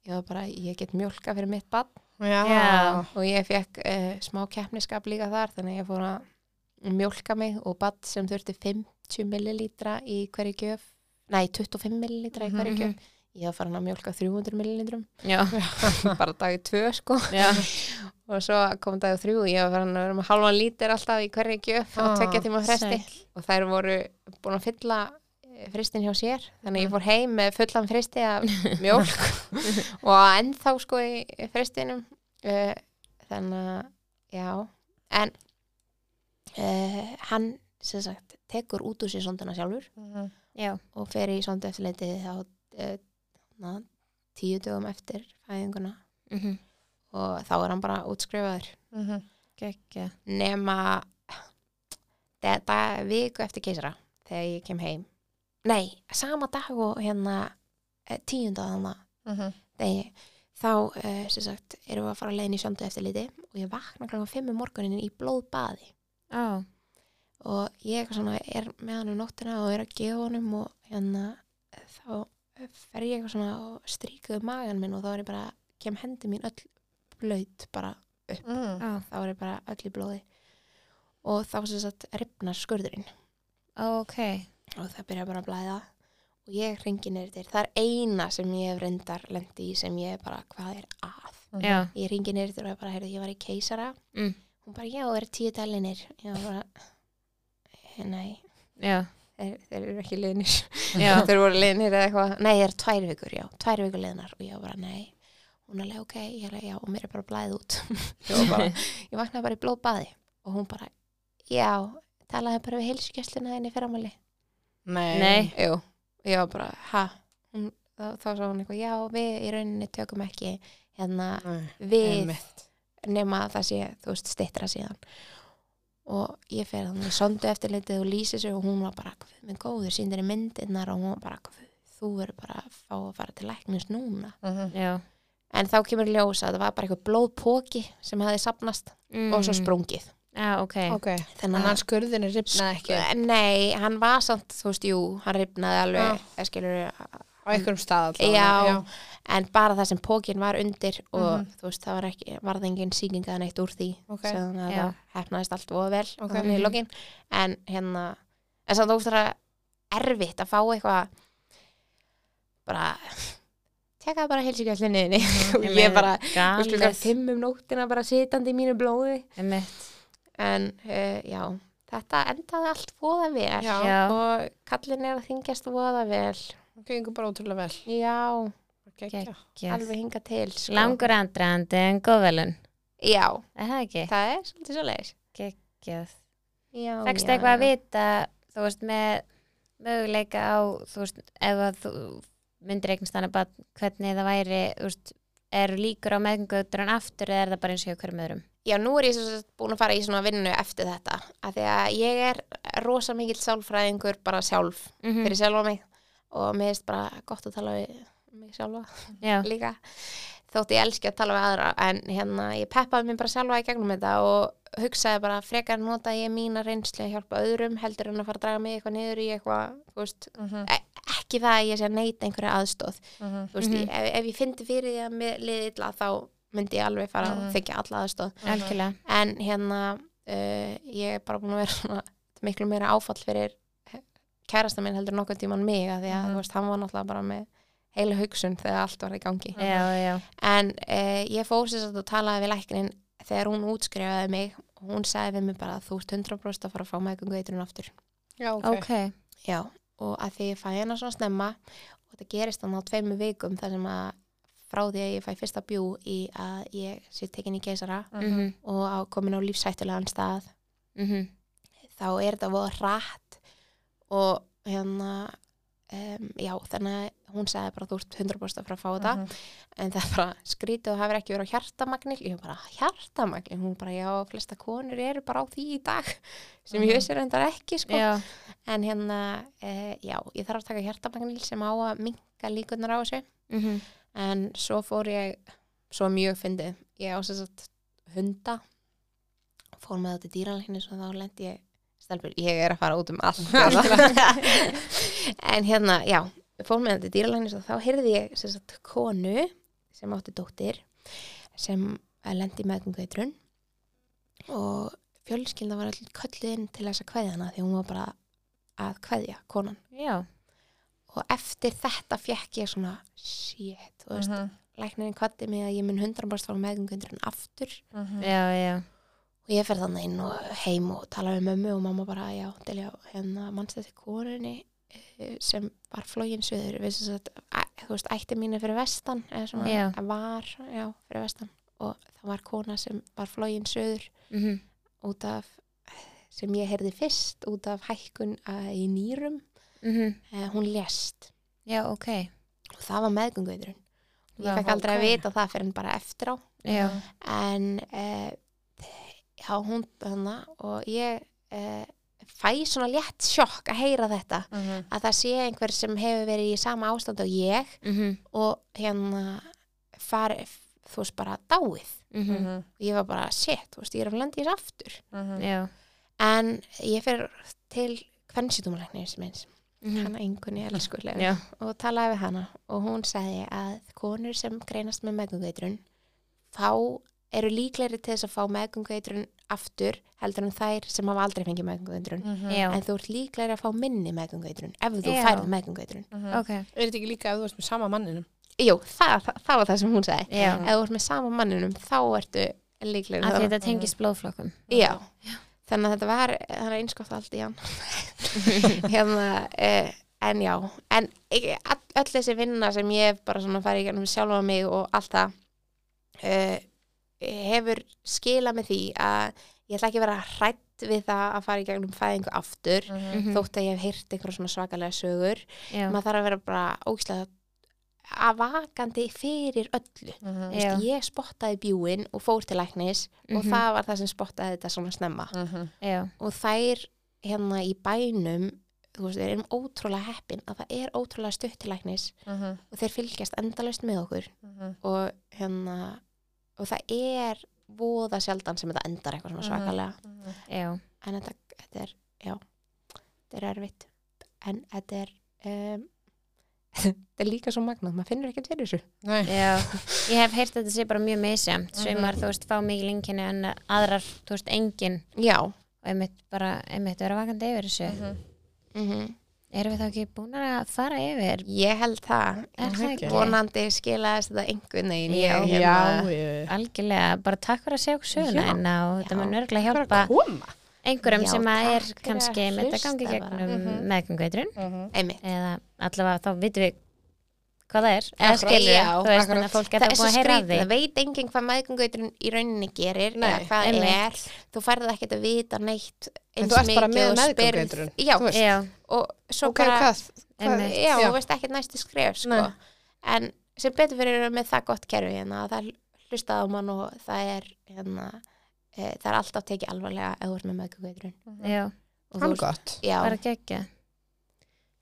ég var bara, ég get mjólka fyrir mitt bann Já. Já. og ég fekk uh, smá keppniskap líka þar þannig að ég fór að mjólka mig og bann sem þurfti 50 millilítra í hverju gjöf nei, 25 millilítra í hverju Mhm. gjöf ég var farin að mjólka 300 millilítrum já, bara dagið tvö sko já. og svo kom dagið þrjú og ég var farin að vera með halvan lítir alltaf í hverju gjöf á Ah, tvekja tíma fresti og þær voru búin að fylla eh, fristin hjá sér þannig að ég fór heim með fullan fristi af mjólk og ennþá sko í fristinum Eh, þannig að já, en uh, hann sem sagt tekur út úr sér sonduna sjálfur Mhm. já. og fer í sondu eftirleitið þá uh, na, tíu dögum eftir fæðinguna Mm -hmm. og þá er hann bara útskrifaður Mhm. Gekja. nema þetta viku eftir keisara þegar ég kem heim nei, sama dag og hérna eh, tíunda þannig Mhm. degi þá, eh, sem sagt, erum við að fara að leiðin í sjöndu eftir liti og ég vakna kl. 5 um morgunin í blóðbaði Á, og ég eitthvað svona er með hann um nóttina og er að gefa honum og hérna eh, þá fer ég eitthvað svona og stríkuðu magan minn og þá er ég bara kem hendi mín öll blöyt bara Mhm. á, þá er ég bara öll í blóði og þá sem sagt ripnar skurðurinn ok. og það byrja bara að blæða og ég hringi neyrir til, það er eina sem ég hef reyndar lendi í sem ég er bara hvað er að, Mhm. Já, ég hringi neyrir til og ég bara heyrði, ég var í keisara Mm. hún bara, já, það eru tíu dalinir ég var bara, "Eh, nei já, þeir, þeir eru ekki liðnir já. þeir voru liðnir eða eitthvað, nei, þeir eru tvær vikur, já tvær vikur liðnar og ég var bara, nei hún alveg, ok, ég alveg, já, og mér er bara blæð út ég var bara, ég vaknaði bara í blóðbaði og hún bara, já talaði bara við heilsugjösluna henni fyrramali Nei. Nei. Jú, ég var bara, ha hún, þá, þá sá hún eitthvað, já, við í rauninni tökum ekki hérna Nei. við Einmitt. nema að það sé, þú veist, stittra síðan og ég fer þannig sondu eftirlitið og lýsi sig og hún var bara "Guð minn góður, síndir í myndirnar og hún var bara, "Guð, þú verður bara að fá að fara til læknis núna Mhm. Já. en þá kemur ljós að það var bara eitthvað blóðpóki sem hafði sapnast Mm. og svo sprungið Já, ok. Ok. þannig Þannig að að skurðinu ripnaði ekki Sko, Nei, hann var samt, þú veist, jú, hann ripnaði alveg, ja. skilur, á einhverjum stað já, allavega. en bara það sem pókin var undir og Mhm. þú veist, það var ekki, varð engin sýkinga neitt úr því, Ok. þannig að Já. það hefnaðist allt voða vel Ok. okay. í Mhm. lokin, en hérna en samt óstara erfitt að fá eitthvað bara teka bara helsingjallinniðinni og Ég ég meina, bara, þú veist, klukkan Galið. fimm um nóttina bara sitandi í mínu blóði Einmitt. en uh, já, þetta endaði allt voða vel Já. Já. og kallin er að þingjast voða vel Það gengur bara ótrúlega vel. já, Gekja. Yes. alveg hinga til sko. Langur andrandi en góðvelun. já, Er það ekki? það er svolítið svo leiðis Gekkjað. já, Fækst já, eitthvað að já. vita, þú veist, með möguleika á, þú veist, ef að þú myndir eignast þannig bara hvernig það væri, þú veist, eru líkur á meðgönguðurinn aftur eða er það bara eins og hjá hverjum öðrum? já, nú er ég svo sagt búin að fara í svona vinnu eftir þetta af því að ég er rosa mikill sálfræðingur bara sjálf Mm fyrir sjálfa mig og mér finnst bara gott að tala við mig sjálfa Já, líka þótt ég elski að tala við aðra en hérna ég peppaði mér bara sjálfa í gegnum þetta og hugsaði bara frekar nota ég mína reynslu að hjálpa öðrum heldur en að fara að draga mig eitthvað niður í eitthvað þú veist, Mhm. ekki það að ég sé að neyta einhverja aðstóð Mhm. þú veist, Mhm. ég, ef, ef ég fyndi fyrir því að mér liði illa þá myndi ég alveg fara Mhm. að þykja alla aðstóð algjörlega. en hérna uh, ég er bara búin að vera svona, þetta er miklu meira áfall fyrir kærasta minn heldur nokkuð tíman mig að því að Mhm. þú veist, hann var náttúrulega bara með heila hugsun þegar allt var í gangi Já, já. en uh, ég fór sér satt og talaði við læknin þegar hún útskrifaði mig og hún sagði við mig bara að þú ert 100% að fara að fá meðgöngu eitrun aftur Já, ok. Ok. Já, og að því ég fæ hana svona snemma og þetta gerist þannig á tveimur vikum þar sem að frá því að ég fæ fyrsta bjú í að ég sé tekin í keisara mhm, og á komin á lífshættulegan stað mhm, þá er þetta voða rætt og hérna um, já, þannig að hún sagði bara þú ert 100% að fara að fá þetta en það er bara skrítið og hafið ekki verið á hjartamagnil ég bara hjartamagnil, hún bara já, flesta konur eru bara á því í dag sem Mhm. ég vissi reyndar ekki sko já, en hérna, e, já, ég þarf að taka hjartamagnil sem á að minka líkunar á þessu mhm, en svo fór ég, svo mjög fyndið ég á sér satt hunda fór með þetta dýralækni svo þá lendi ég, stelpur, ég er að fara út um allt hérna. en hérna, já, fór með þetta dýralækni svo þá heyrði ég sér satt konu sem átti dóttir sem eh, lendi meðgungveitrun og fjölskylda var allir kölluð inn til þess að kveðja hana því hún var bara að kveðja konan já, mhm. og eftir þetta fekk ég svona shit, þú veist, læknirinn kvatti mig að ég mun 100% fara meðgöngundurinn aftur já, já, og ég fer þannig inn og heim og tala við mömmu og mamma bara, já, delja hérna mannst þetta konunni eh, sem var flógin söður við sem sagt, æ- þú veist, ætti mínu fyrir vestan eða svona, Já. var, já, fyrir vestan og það var kona sem var flógin söður mhm, út af sem ég heyrði fyrst út af hækkun eh, í nýrum mhm, eh, hún lést já, ok, og það var meðgöngundurinn Já, ég fekk aldrei að ok. vita það fyrir en bara eftir á já, en uh, já, hún hana og ég uh, fæ svona létt sjokk að heyra þetta Mhm, að það sé einhver sem hefur verið í sama ástand og ég mhm, og hérna fari, þú veist bara dáið mhm, og ég var bara, shit, þú veist, ég er að lenda í þessu aftur já, en ég fer til kvennsýtumalæknir sem eins, mhm, hana einhvernig elskulega já, og talaði við hana og hún sagði að konur sem greinast með meðgungveitrun fá, eru líklegri til þess að fá meðgungveitrun aftur heldur en þær sem hafa aldrei fengið meðgungveitrun já, en þú ert líklegri að fá minni meðgungveitrun ef þú Já. færð meðgungveitrun ok, Er þetta ekki líka ef þú veist með sama manninum? Jú, það, það, það var það sem hún sagði já, ef þú ert með sama manninum þá ertu líklegri að þá. þetta tengist blóðflokkum, Já. þannig að þetta var þannig að einskott allt í hann hérna uh, en já, en ekki- all, öll þessi vinna sem ég hef bara svona farið í gennum sjálfa mig og allt það uh, hefur skilað með því að ég ætla ekki að vera hrætt við það að fara í gegnum fæðingu aftur mhm, þótt að ég hef heyrt einhverjum svona svakalega sögur já, maður þarf að vera bara ógislega að vakandi fyrir öllu já, ég spottaði bjúin og fór til læknis og Mhm. það var það sem spottaði þetta svona snemma já, og þær hérna í bænum þú veist, við erum ótrúlega heppin að það er ótrúlega stutt til læknis og þeir fylgjast endalaust með okkur og hérna og það er voða sjaldan sem þetta endar eitthvað svona Mhm. svakalega já, en þetta, þetta er, já þetta er erfitt en þetta er um, þetta er líka svo magnað, maður finnur ekkert fyrir þessu Nei. Já, ég hef heyrt að þetta sé bara mjög misjamt Sveimar, Mhm. þú veist, fá mikið lengjana en aðrar, þú veist, engin já, og einmitt bara, einmitt vera vakandi yfir þessu Mhm. mhm. Erum við þá ekki búin að fara yfir? ég held það Er það ekki? vonandi skilaðist þetta einhvern veginn Já. ég, Já, hérna, ég Algjörlega, bara takk fyrir að segja okkur söguna Já. hérna og þetta Já. mun örgulega er hjálpa að koma. einhverjum Já, sem að takk er fyrir kannski að með þetta hlusta gangi bara. gegnum mm Mhm. einmitt eða allavega þá vitum við hvað það er eða Akkurat. skilur, Já, þú veist, akkurat. þannig að fólk það geta er búið svo að heyra af skrýt, því það veit enginn hvað meðgöngauturinn í rauninni gerir Nei, eða hvað einmitt. er, þú færði ekkert að vita neitt En eins þú ert bara mikið með og spyrð. meðgönguveiturinn, já, þú veist. Já, og svo Ok, bara hvað? hvað- einmitt. já, Já. þú veist ekkert næstu skref sko. Nei. en sem betur fyrir erum við með það gott kerfi hérna, að það hlustaði á mann og það er hérna, e, það er alltaf tekið alvarlega ef þú ert með meðgöngauturinn já, Og þú Hann ert- gott. já, bara geggja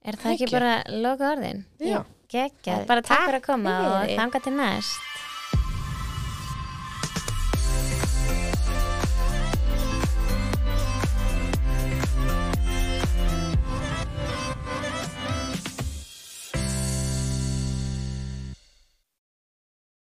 Er það ekki Geggja. bara loka orðin? Já. Gekkja, Það- bara takk takk fyrir að koma og fyrir. þanga til næst